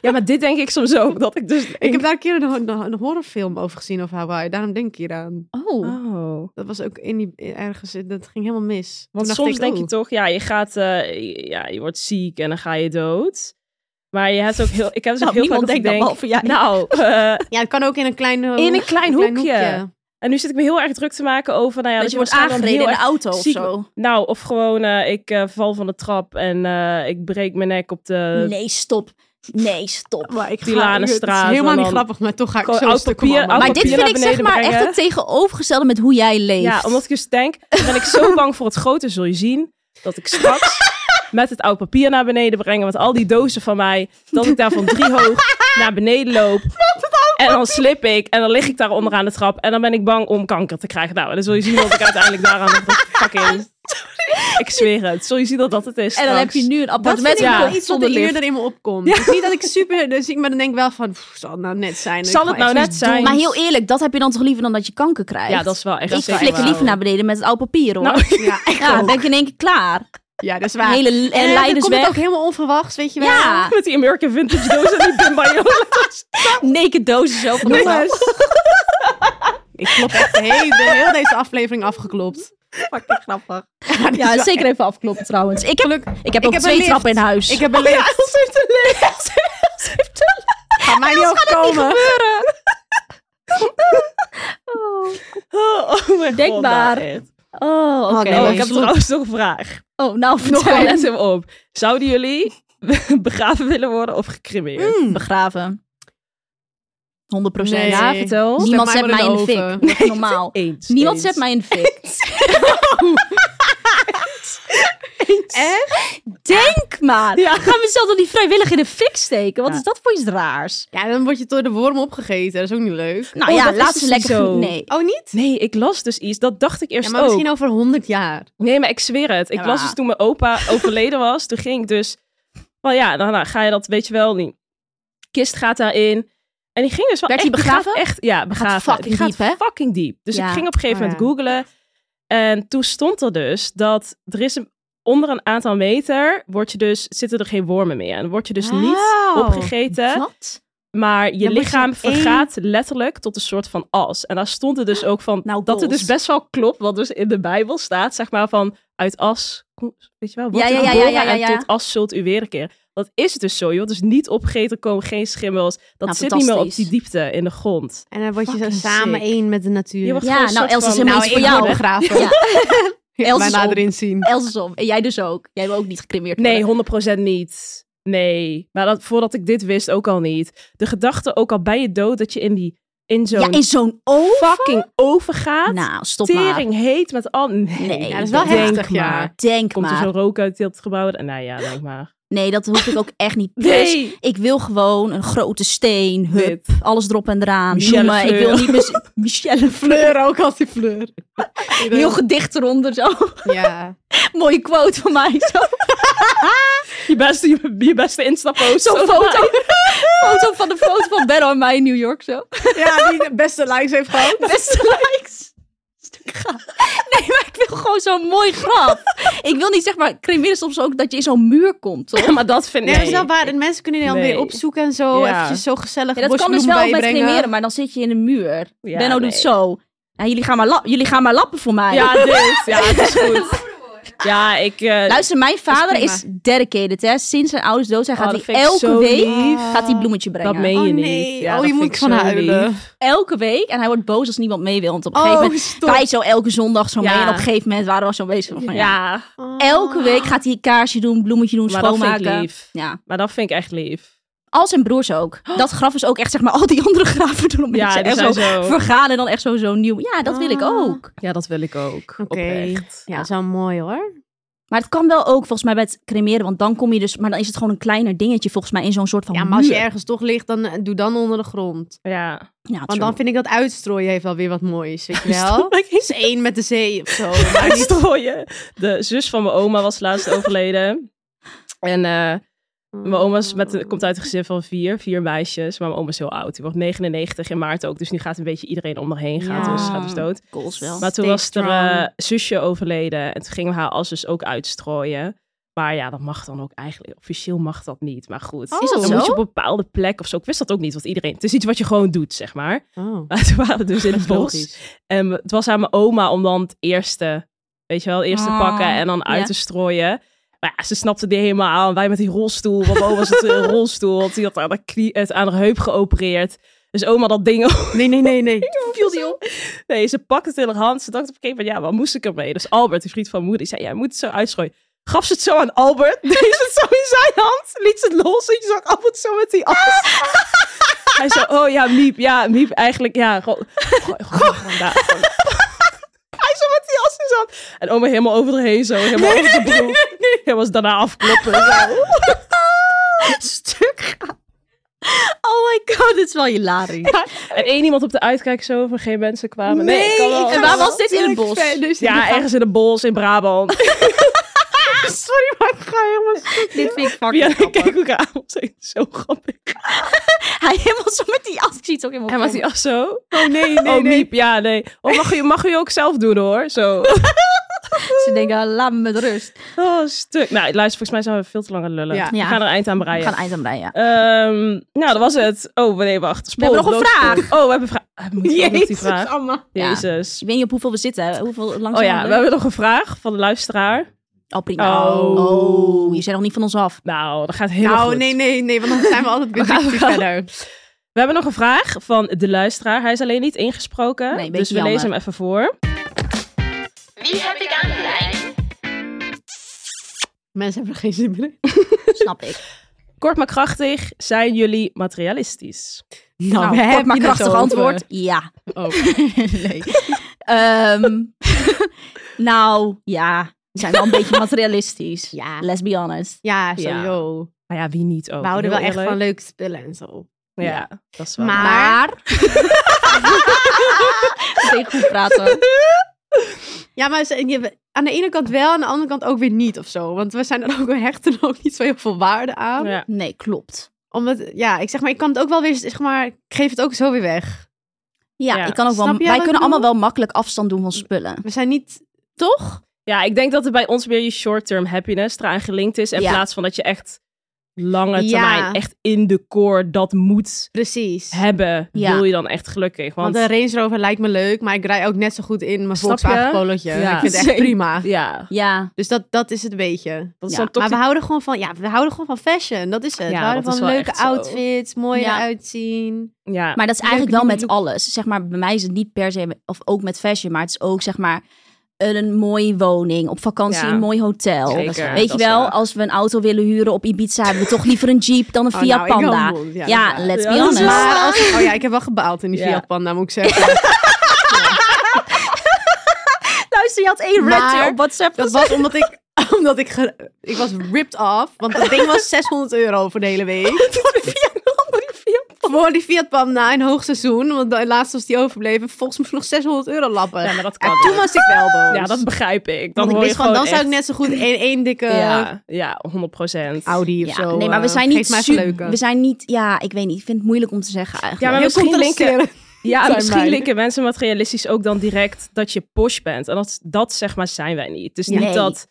Ja, maar dit denk ik soms ook. Dat ik dus
Ik
denk-
heb daar een keer een, een, een horrorfilm over gezien over Hawaii. Daarom denk ik hier aan.
Oh.
Oh.
Dat was ook in die ergens. Dat ging helemaal mis.
Want
Toen dacht
soms
ik,
denk je
oh.
toch, ja, je gaat, eh, ja, je wordt ziek en dan ga je dood. Maar je hebt ook heel, ik heb dus
Nou,
ook heel vaak
niemand
dat ik
denkt dat,
denk,
behalve jij.
nou, eh,
Ja, het kan ook in een klein, eh,
in een
hoek-
klein hoekje. En nu zit ik me heel erg druk te maken over, nou ja,
dat je wordt aangereden in de auto of
ziek-
zo.
Nou, of gewoon eh, ik eh, val van de trap en eh, ik breek mijn nek op de
Nee, stop. Nee, stop.
Maar ik
Die Lanenstraat,
Het is helemaal
en
niet
dan
grappig, maar toch ga ik
gewoon
zo
oud
stuk
papier-
om allemaal.
oud
Maar
Maar
dit
papier
vind
naar
ik zeg
beneden
maar
brengen.
echt het tegenovergestelde met hoe jij leeft.
Ja, omdat ik dus denk, dan ben ik zo bang voor het grote, zul je zien, dat ik straks met het oud papier naar beneden breng, met al die dozen van mij, dat ik daar van drie hoog naar beneden loop. En dan slip ik en dan lig ik daar onderaan de trap en dan ben ik bang om kanker te krijgen. Nou, dan zul je zien dat ik uiteindelijk daaraan fucking... Ik zweer het. Zul je zien dat dat het is
en dan heb
straks.
je nu een
dat vind
appartement
ik
Ja.
wel iets wat
zonder
er
lift.
eerder in me opkomt. Het is niet dat ik super dus ik, maar dan denk ik wel van, pff, zal het nou net zijn.
Zal het nou net zijn?
Maar heel eerlijk, dat heb je dan toch liever dan dat je kanker krijgt?
Ja, dat is wel echt
ik
zeker
flikker
waar.
liever naar beneden met het oude papier hoor.
Nou,
Ja, echt
ja,
ook.
dan denk je in één keer klaar.
Ja, dat is
Een
waar.
hele
En
en
dan
leiders
komt het
weg.
ook helemaal onverwachts, weet je wel.
Ja,
Nou, met die American Vintage dozen en die bimbajolen.
naked dozen zo van
Jongens. ik klop echt heel, heel deze aflevering afgeklopt. Fucking grappig. Ja, dit is
Ja,
wel
zeker even afkloppen trouwens. Ik heb, ik heb ook
heb een
twee
lift.
trappen in huis.
Ik heb een lift. heeft een Ga mij niet overkomen.
Oh, oh mijn
Denk
god.
maar.
nou echt.
Oh, oké.
nee.
Oh, ik heb trouwens nog een vraag.
Oh, nou
Nog
vertel.
een let hem op. Zouden jullie begraven willen worden of gecremeerd?
Begraven. 100 procent.
Nee.
Ja, vertel.
Stel
Niemand
mij
zet
maar
mij
in
in
de
de
oven.
fik. Dat is normaal.
Eens.
Niemand
eens.
zet mij in de fik.
Echt?
Denk maar.
Ja.
Ga mezelf dan niet vrijwillig in de fik steken. Wat
Ja.
is dat voor iets raars?
Ja, dan word je door de worm opgegeten. Dat is ook niet leuk.
Nou
Oh,
ja,
dat is
laat
dus
ze
niet
lekker...
zo.
Nee.
Oh, niet?
Nee, ik las dus iets. Dat dacht ik eerst
Ja, maar
ook.
misschien over 100 jaar.
Nee, maar ik zweer het. Ik
Ja,
las
maar-
dus toen mijn opa overleden was. Toen ging ik dus... Wel ja, nou, nou, ga je dat, weet je wel, die kist gaat daarin. En die ging dus wel
Werd
echt...
die
die gaat
begraven?
Echt, ja, begraven.
fucking
Die gaat
diep, hè?
fucking diep. Dus
Ja.
ik ging op een gegeven
Oh,
moment googlen. En toen stond er dus dat er is een, onder een aantal meter word je dus, zitten er geen wormen meer. En word je dus niet
Wauw.
opgegeten.
Wat?
Maar je
Dan moet je
lichaam
één-
vergaat letterlijk tot een soort van as. En daar stond er dus ook van
Nou,
dat het
goals.
dus best wel klopt, wat dus in de Bijbel staat, zeg maar van uit as, weet je wel, wordt
Ja,
ja,
ja, ja,
geboren
ja, ja, ja,
en
ja.
tot as zult u wederkeren. Dat is het dus zo, joh. Dus niet opgegeten komen, geen schimmels. Dat
Nou,
zit niet meer op
fantastisch.
die diepte in de grond.
En dan word je zo
Fucking
samen
sick.
één met de natuur.
Je wordt
Ja,
gewoon een
nou,
soort
Els is
van-
helemaal
nou,
iets
ik
voor jou.
word begraven.
Ja. Els is
Bijna
op.
erin zien.
Elsom. En jij dus ook. Jij wil ook niet gecremeerd worden.
Nee, 100% niet. Nee. Maar dat, voordat ik dit wist, ook al niet. De gedachte ook al bij je dood dat je in die in zo'n
Ja, in zo'n oven?
fucking oven gaat.
Nou, stop maar.
Tering heet met al. Nee,
Nee,
Ja, dat is wel
denk
heftig, ja.
maar.
Denk
Komt er
maar.
zo'n rook uit het gebouw? Nou ja, denk maar.
Nee, dat hoef ik ook echt niet. Plus, ik wil gewoon een grote steen, hup,
Dit.
alles erop en eraan.
Michelle
Noemen. Ik
Fleur.
wil niet meer... Michelle Fleur.
Fleur ook als die fleur.
Heel gedicht eronder, zo.
Ja.
Mooie quote van mij, zo.
Je beste, je, je beste instappost.
Zo'n foto. foto van de foto van Ben en mij in New York zo.
ja, die de beste likes heeft gehad.
Beste likes. Stuk grap. Nee, maar ik wil gewoon zo'n mooi grap. Ik wil niet zeg maar, cremeren soms ook dat je in zo'n muur komt, toch?
Maar dat vind
Nee,
ik.
dat is wel waar. En mensen kunnen die dan
Nee.
weer opzoeken en zo.
Ja.
Eventjes zo gezellig
Ja, dat kan dus
bosbloem
wel met
bijbrengen.
cremeren, maar dan zit je in een muur.
Ja,
Benno
nee.
doet zo. Ja, jullie, gaan maar lap- jullie gaan maar lappen voor mij.
Ja, dit. Ja, het is goed. Ja, ik. eh,
Luister, mijn vader
prima.
is dedicated, hè. Sinds zijn ouders dood zijn,
Oh,
gaat
dat
hij
vind ik
elke
zo
week
lief.
gaat hij bloemetje brengen.
dat meen
Oh,
je
nee.
niet. Ja, dat
oh, je
vind
moet
ik
van
zo
huilen.
lief.
Elke week. En hij wordt boos als niemand mee wil. Want op een gegeven
Oh,
moment...
stop.
Wij zo elke zondag zo mee.
Ja.
En op een gegeven moment waren we zo bezig. Van, Oh, ja.
Ja,
Oh.
Elke week gaat hij kaarsje doen, bloemetje doen,
maar dat vind ik
schoonmaken.
lief.
Ja.
Maar dat vind ik echt lief.
Al zijn broers ook. Dat graf is ook echt, zeg maar, al die andere graven doen. Om
Ja,
mensen
die
echt
zijn zo.
zo vergaan en dan echt zo, zo nieuw. Ja, dat wil ik
Ah.
ook.
Ja, dat wil ik ook.
Oké.
Oprecht.
Ja, dat is wel mooi hoor.
Maar het kan wel ook, volgens mij, bij het cremeren. Want dan kom je dus... Maar dan is het gewoon een kleiner dingetje, volgens mij, in zo'n soort van
Ja, maar als je
muur.
ergens toch ligt, dan eh, doe dan onder de grond.
Ja.
Ja,
Want dan vind ik dat uitstrooien heeft wel weer wat moois, weet je wel?
Stop, ik-
Het is één met de zee of zo. Maar niet-
strooien. De zus van mijn oma was laatst overleden. En eh, mijn oma is met,
Oh.
een- komt uit een gezin van vier, vier meisjes. Maar mijn oma is heel oud. Die wordt 99 in maart ook. Dus nu gaat een beetje iedereen om haar heen. Gaat,
Ja.
dus, gaat dus dood.
Goals wel.
Maar toen
Stay
was er
strong.
eh, zusje overleden. En toen gingen we haar als dus ook uitstrooien. Maar ja, dat mag dan ook eigenlijk. Officieel mag dat niet. Maar goed.
Is
dat
dan
zo?
moet je op een bepaalde plek of zo. Ik wist dat ook niet. Want iedereen. Het is iets wat je gewoon doet, zeg maar.
Oh,
Maar toen waren we dus in
dat
het bos.
is logisch.
En het was aan mijn oma om dan het eerste, weet je wel, het eerste
Ah,
pakken en dan uit
ja.
te strooien. Maar ja, ze snapte die helemaal aan. Wij met die rolstoel, want oma was het een rolstoel, want die had aan haar, knie, het, aan haar heup geopereerd. Dus oma dat ding op.
Nee, nee, nee, nee.
Viel die op? Nee, ze pakte het in haar hand. Ze dacht op een gegeven moment, ja, wat moest ik ermee? Dus Albert, die vriend van moeder, die zei, ja, je moet het zo uitstrooien. Gaf ze het zo aan Albert, deed ze het zo in zijn hand, liet ze het los en je zag Albert zo met die as. Hij zei, oh ja, Miep, ja, Miep, eigenlijk, ja, gewoon, gewoon, gewoon, gewoon daar, gewoon. Hij zo met die as in zijn hand. En oma helemaal over erheen zo, helemaal over de broek. Helemaal ze daarna afkloppen. Zo.
Stuk gaan. Oh my god, dit is wel hilarisch.
En één iemand op de uitkijk zo, van geen mensen kwamen. Nee, ik kan wel.
En waar was dit in het bos?
Ja, ergens in een bos in Brabant.
Sorry, maar ik ga helemaal...
Dit vind ik
Ja,
fucking
ik
grappig.
keek elkaar aan. Het is Zo grappig.
Hij helemaal zo met die as. Ik zie het ook helemaal.
En was hij al zo?
Oh, nee, nee,
oh,
nee.
miep. Ja, nee. Oh, mag u, mag u ook zelf doen hoor. Zo.
Ze denken, "Ah, laat me met rust.
Oh, stuk. Nou, luister, volgens mij zijn we veel te lang aan het lullen.
Ja.
We gaan er een eind aan breien.
We gaan eind aan breien.
Ehm, nou, dat was het. Oh, nee, wacht. Spoor,
hebben nog een
doodspoor. Oh, we hebben een vraag. Moet je nog die
Oh,
vraag?
Ja.
Jezus.
Ik weet niet op hoeveel we zitten. hè. Hoeveel langzaam
Oh ja, we hebben nog een vraag van de luisteraar.
Oh, prima.
Oh.
Oh. je zijn nog niet van ons af.
Nou, dat gaat helemaal
Nou,
goed. Oh,
nee, nee, nee, want dan zijn we altijd weer verder.
We hebben nog een vraag van de luisteraar. Hij is alleen niet ingesproken.
Nee, een
dus we
beetje
lezen
jammer.
hem even voor.
Wie heb ik aan de lijn?
Mensen hebben er geen zin
Nou,
meer in.
Snap ik.
Kort maar krachtig, zijn jullie materialistisch?
Nou,
Nou,
we
kort
hebben
maar
het
krachtig
over.
antwoord. Ja.
Oh.
nee. Ehm, nou, ja. We zijn wel een beetje materialistisch.
Ja.
Let's be honest.
Ja, sowieso.
Maar Nou ja, wie niet ook?
We houden wel
Heel
echt
eerlijk.
van leuke spullen en zo.
Ja, dat is wel.
Maar-
Ik denk goed praten.
Ja, maar ze- je- aan de ene kant wel, aan de andere kant ook weer niet of zo. Want we zijn er ook, we hechten er ook niet zo heel veel waarde aan.
Ja.
Nee, klopt.
Omdat, ja, ik zeg maar, ik kan het ook wel weer, zeg maar, ik geef het ook zo weer weg.
Ja,
Ja.
ik kan ook wel,
Snap je wat
wij
ik
kunnen allemaal
bedoel?
wel makkelijk afstand doen van spullen.
We zijn niet, toch?
ja, ik denk dat het bij ons weer je short-term happiness eraan gelinkt is. In
Ja.
plaats van dat je echt lange
Ja.
termijn, echt in de core dat moet
Precies.
hebben.
Ja.
Wil je dan echt gelukkig?
Want
Want,
de Range Rover lijkt me leuk, maar ik rij ook net zo goed in mijn
Snap je?
Volkswagen Polootje.
Ja.
Ik vind het echt prima.
ja,
Ja,
Dus dat, dat is het beetje.
dat is
Ja,
dan toch
maar we
die-
houden gewoon van, ja, we houden gewoon van fashion. Dat is het.
Ja,
we houden
dat is
van
wel
leuke
echt zo.
outfits, mooi
Ja.
uitzien.
ja.
maar dat is
Leuke
eigenlijk wel
nieuwe
met
look.
alles. Zeg maar, bij mij is het niet per se, met- of ook met fashion, maar het is ook zeg maar een mooie woning, op vakantie
Ja.
een mooi hotel.
Zeker,
Weet
dat
je
is
wel,
waar.
als we een auto willen huren op Ibiza, hebben we toch liever een Jeep dan een
Oh,
Fiat
nou, ik
Panda.
wel moe. Ja,
Ja,
dat is waar.
let's
Ja,
be
dat is
honest.
waar.
Maar als, oh ja, ik heb wel gebaald in die
Ja.
Fiat Panda, moet ik zeggen.
Luister, je had één
Maar-
rant op WhatsApp.
Dat was omdat ik, omdat ik, ge- ik was ripped off. Want dat ding was 600 euro voor de hele week. Voor die Fiat Panda in hoogseizoen. Want de laatst was die overbleven. Volgens mij nog 600 euro lappen.
Ja, maar dat
en
kan.
toen was ik wel boos.
Ja, dat begrijp ik. Dan
Want ik
hoor je
wist gewoon, dan
echt...
zou ik net eh, zo goed één, één dikke
Ja, ja 100 procent.
Audi of
Ja,
zo.
nee, maar we
eh,
zijn
geef
niet
mij
su-
leuke.
We zijn niet, ja, ik weet niet. Ik vind het moeilijk om te zeggen
Ja,
eigenlijk.
maar
Heel
misschien linken,
contrasterend.
Ja,
zijn
misschien
wij.
linken mensen materialistisch ook dan direct dat je posh bent. En dat, dat zeg maar zijn wij niet. Dus
Ja.
niet
Nee.
dat,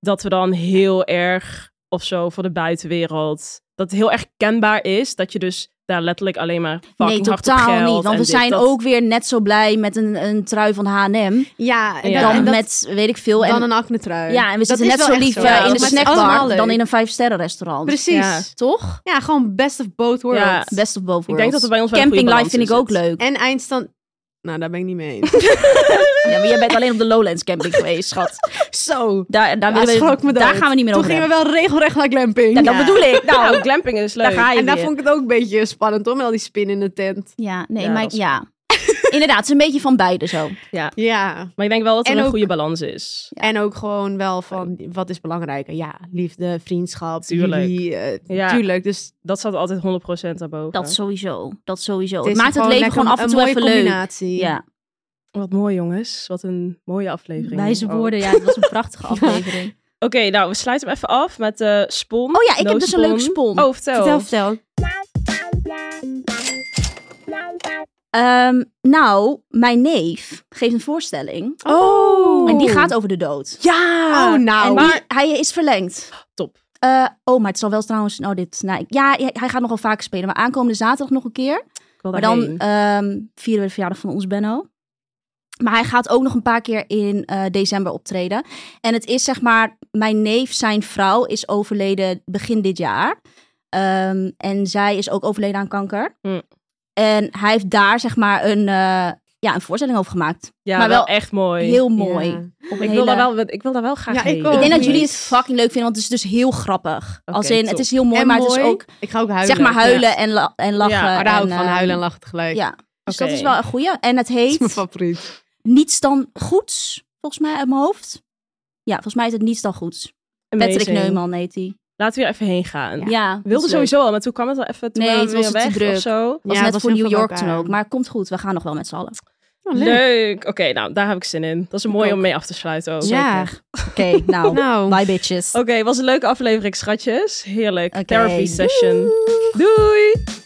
dat we dan heel erg of zo voor de buitenwereld... Dat het heel erg kenbaar is dat je dus daar letterlijk alleen maar fucking
nee,
hard op
totaal
geld
niet. Want
en
we
dit,
zijn
dat-
ook weer net zo blij met een, een trui van H&M.
Ja, en
Ja.
dat-
dan
en dat-
met, weet ik veel. En,
dan een acne trui.
ja, en we
Dat
zitten
is
net
wel
zo
echt
lief
zo.
eh,
Ja,
in
dat
de
is allemaal
snackbar
leuk.
dan in een vijfsterren restaurant.
Precies.
Ja.
Toch?
Ja, gewoon best of both worlds.
Ja.
Best of both worlds.
Ik denk dat het bij ons wel een
Camping
goede
life vind ik
balans
ook
is het.
leuk.
En eindstand... Nou, daar ben ik niet mee eens.
Ja, maar jij bent alleen op de Lowlands camping geweest, schat.
Zo.
Daar, daar,
Ja,
willen we-
schrok me dood.
daar gaan we niet meer
Toen
over
gingen we
hebben.
wel regelrecht naar glamping.
Ja, dat bedoel ik. Nou,
Nou, glamping is leuk.
daar ga je
en daar
weer.
vond ik het ook een beetje spannend, hoor, met al die spin in de tent.
Ja, nee,
Ja,
maar
dat is-
ja. Inderdaad, het is een beetje van beide zo.
Ja.
Maar ik denk wel dat er
En
een
ook-
goede balans is.
En ook gewoon wel van, wat is belangrijker? Ja, liefde, vriendschap,
Tuurlijk.
jullie, eh,
Ja.
Tuurlijk, dus
Dat staat altijd 100% daarboven.
Dat sowieso. Dat sowieso.
het
Het
is
maakt het leven
lekker
gewoon
een-
af en
een
toe
mooie
even leuk.
combinatie.
Ja,
Wat mooi jongens. Wat een mooie aflevering.
wijze
Oh.
woorden. Ja, het was een prachtige aflevering.
Oké, nou we sluiten hem even af met de spon.
Oh ja, ik
No
heb dus een
spon.
leuk spon.
Oh, vertel.
Vertel, vertel.
Ehm, nou, mijn neef geeft een voorstelling.
Oh.
En die gaat over de dood.
Ja. Oh,
en
nou.
die- hij is verlengd.
Top.
Eh, oh, maar het zal wel trouwens... Nou, dit, nou, ik- ja, hij- hij gaat nogal vaker spelen. Maar aankomende zaterdag nog een keer.
Ik wil
Maar dan
daarheen.
ehm, vieren we de verjaardag van ons Benno. Maar hij gaat ook nog een paar keer in eh, december optreden. En het is zeg maar, mijn neef, zijn vrouw, is
Hm.
overleden begin dit jaar. Ehm, en zij is ook overleden aan kanker.
Mm.
En hij heeft daar zeg maar een, eh, ja, een voorstelling over gemaakt.
Ja,
maar
wel,
wel
echt mooi.
Heel mooi.
Ja.
Op een
ik,
hele-
wil daar wel, ik wil daar wel graag
Ja, ik
heen.
ook.
Ik denk dat
Nice.
jullie het fucking leuk vinden, want het is dus heel grappig.
Oké,
Als in,
top.
het is heel mooi, maar het is ook
Ik ga ook huilen.
zeg maar huilen
Ja.
en, la- en lachen.
Ja, maar daar hou ik
en,
van
eh,
huilen en lachen tegelijk.
Ja, dus
Oké.
dat is wel een goeie. En het
Dat is mijn
heet
favoriet.
Niets dan Goeds, volgens mij uit mijn hoofd. Ja, volgens mij is het Niets dan Goeds.
Amazing.
Patrick Neumann heet hij.
Laten we hier even heen gaan.
Ja,
Ik wilde
dat is leuk.
sowieso al, maar toen kwam het al even. Toen
Nee,
waren we
het was
weer
te
weg
druk.
of zo.
was
Ja,
net
dat
voor
is heel
New
veel
York
bij
toen
elkaar. Oh,
ook. Maar komt goed, we gaan nog wel met z'n allen.
Oh, leuk. Oké, nou daar heb ik zin in. Dat is een mooie om mee af te sluiten ook.
Ja.
Zeker. Oké, nou,
Nou,
bye bitches.
Oké, was een leuke aflevering, schatjes. Heerlijk.
Oké.
Therapy session. Doei.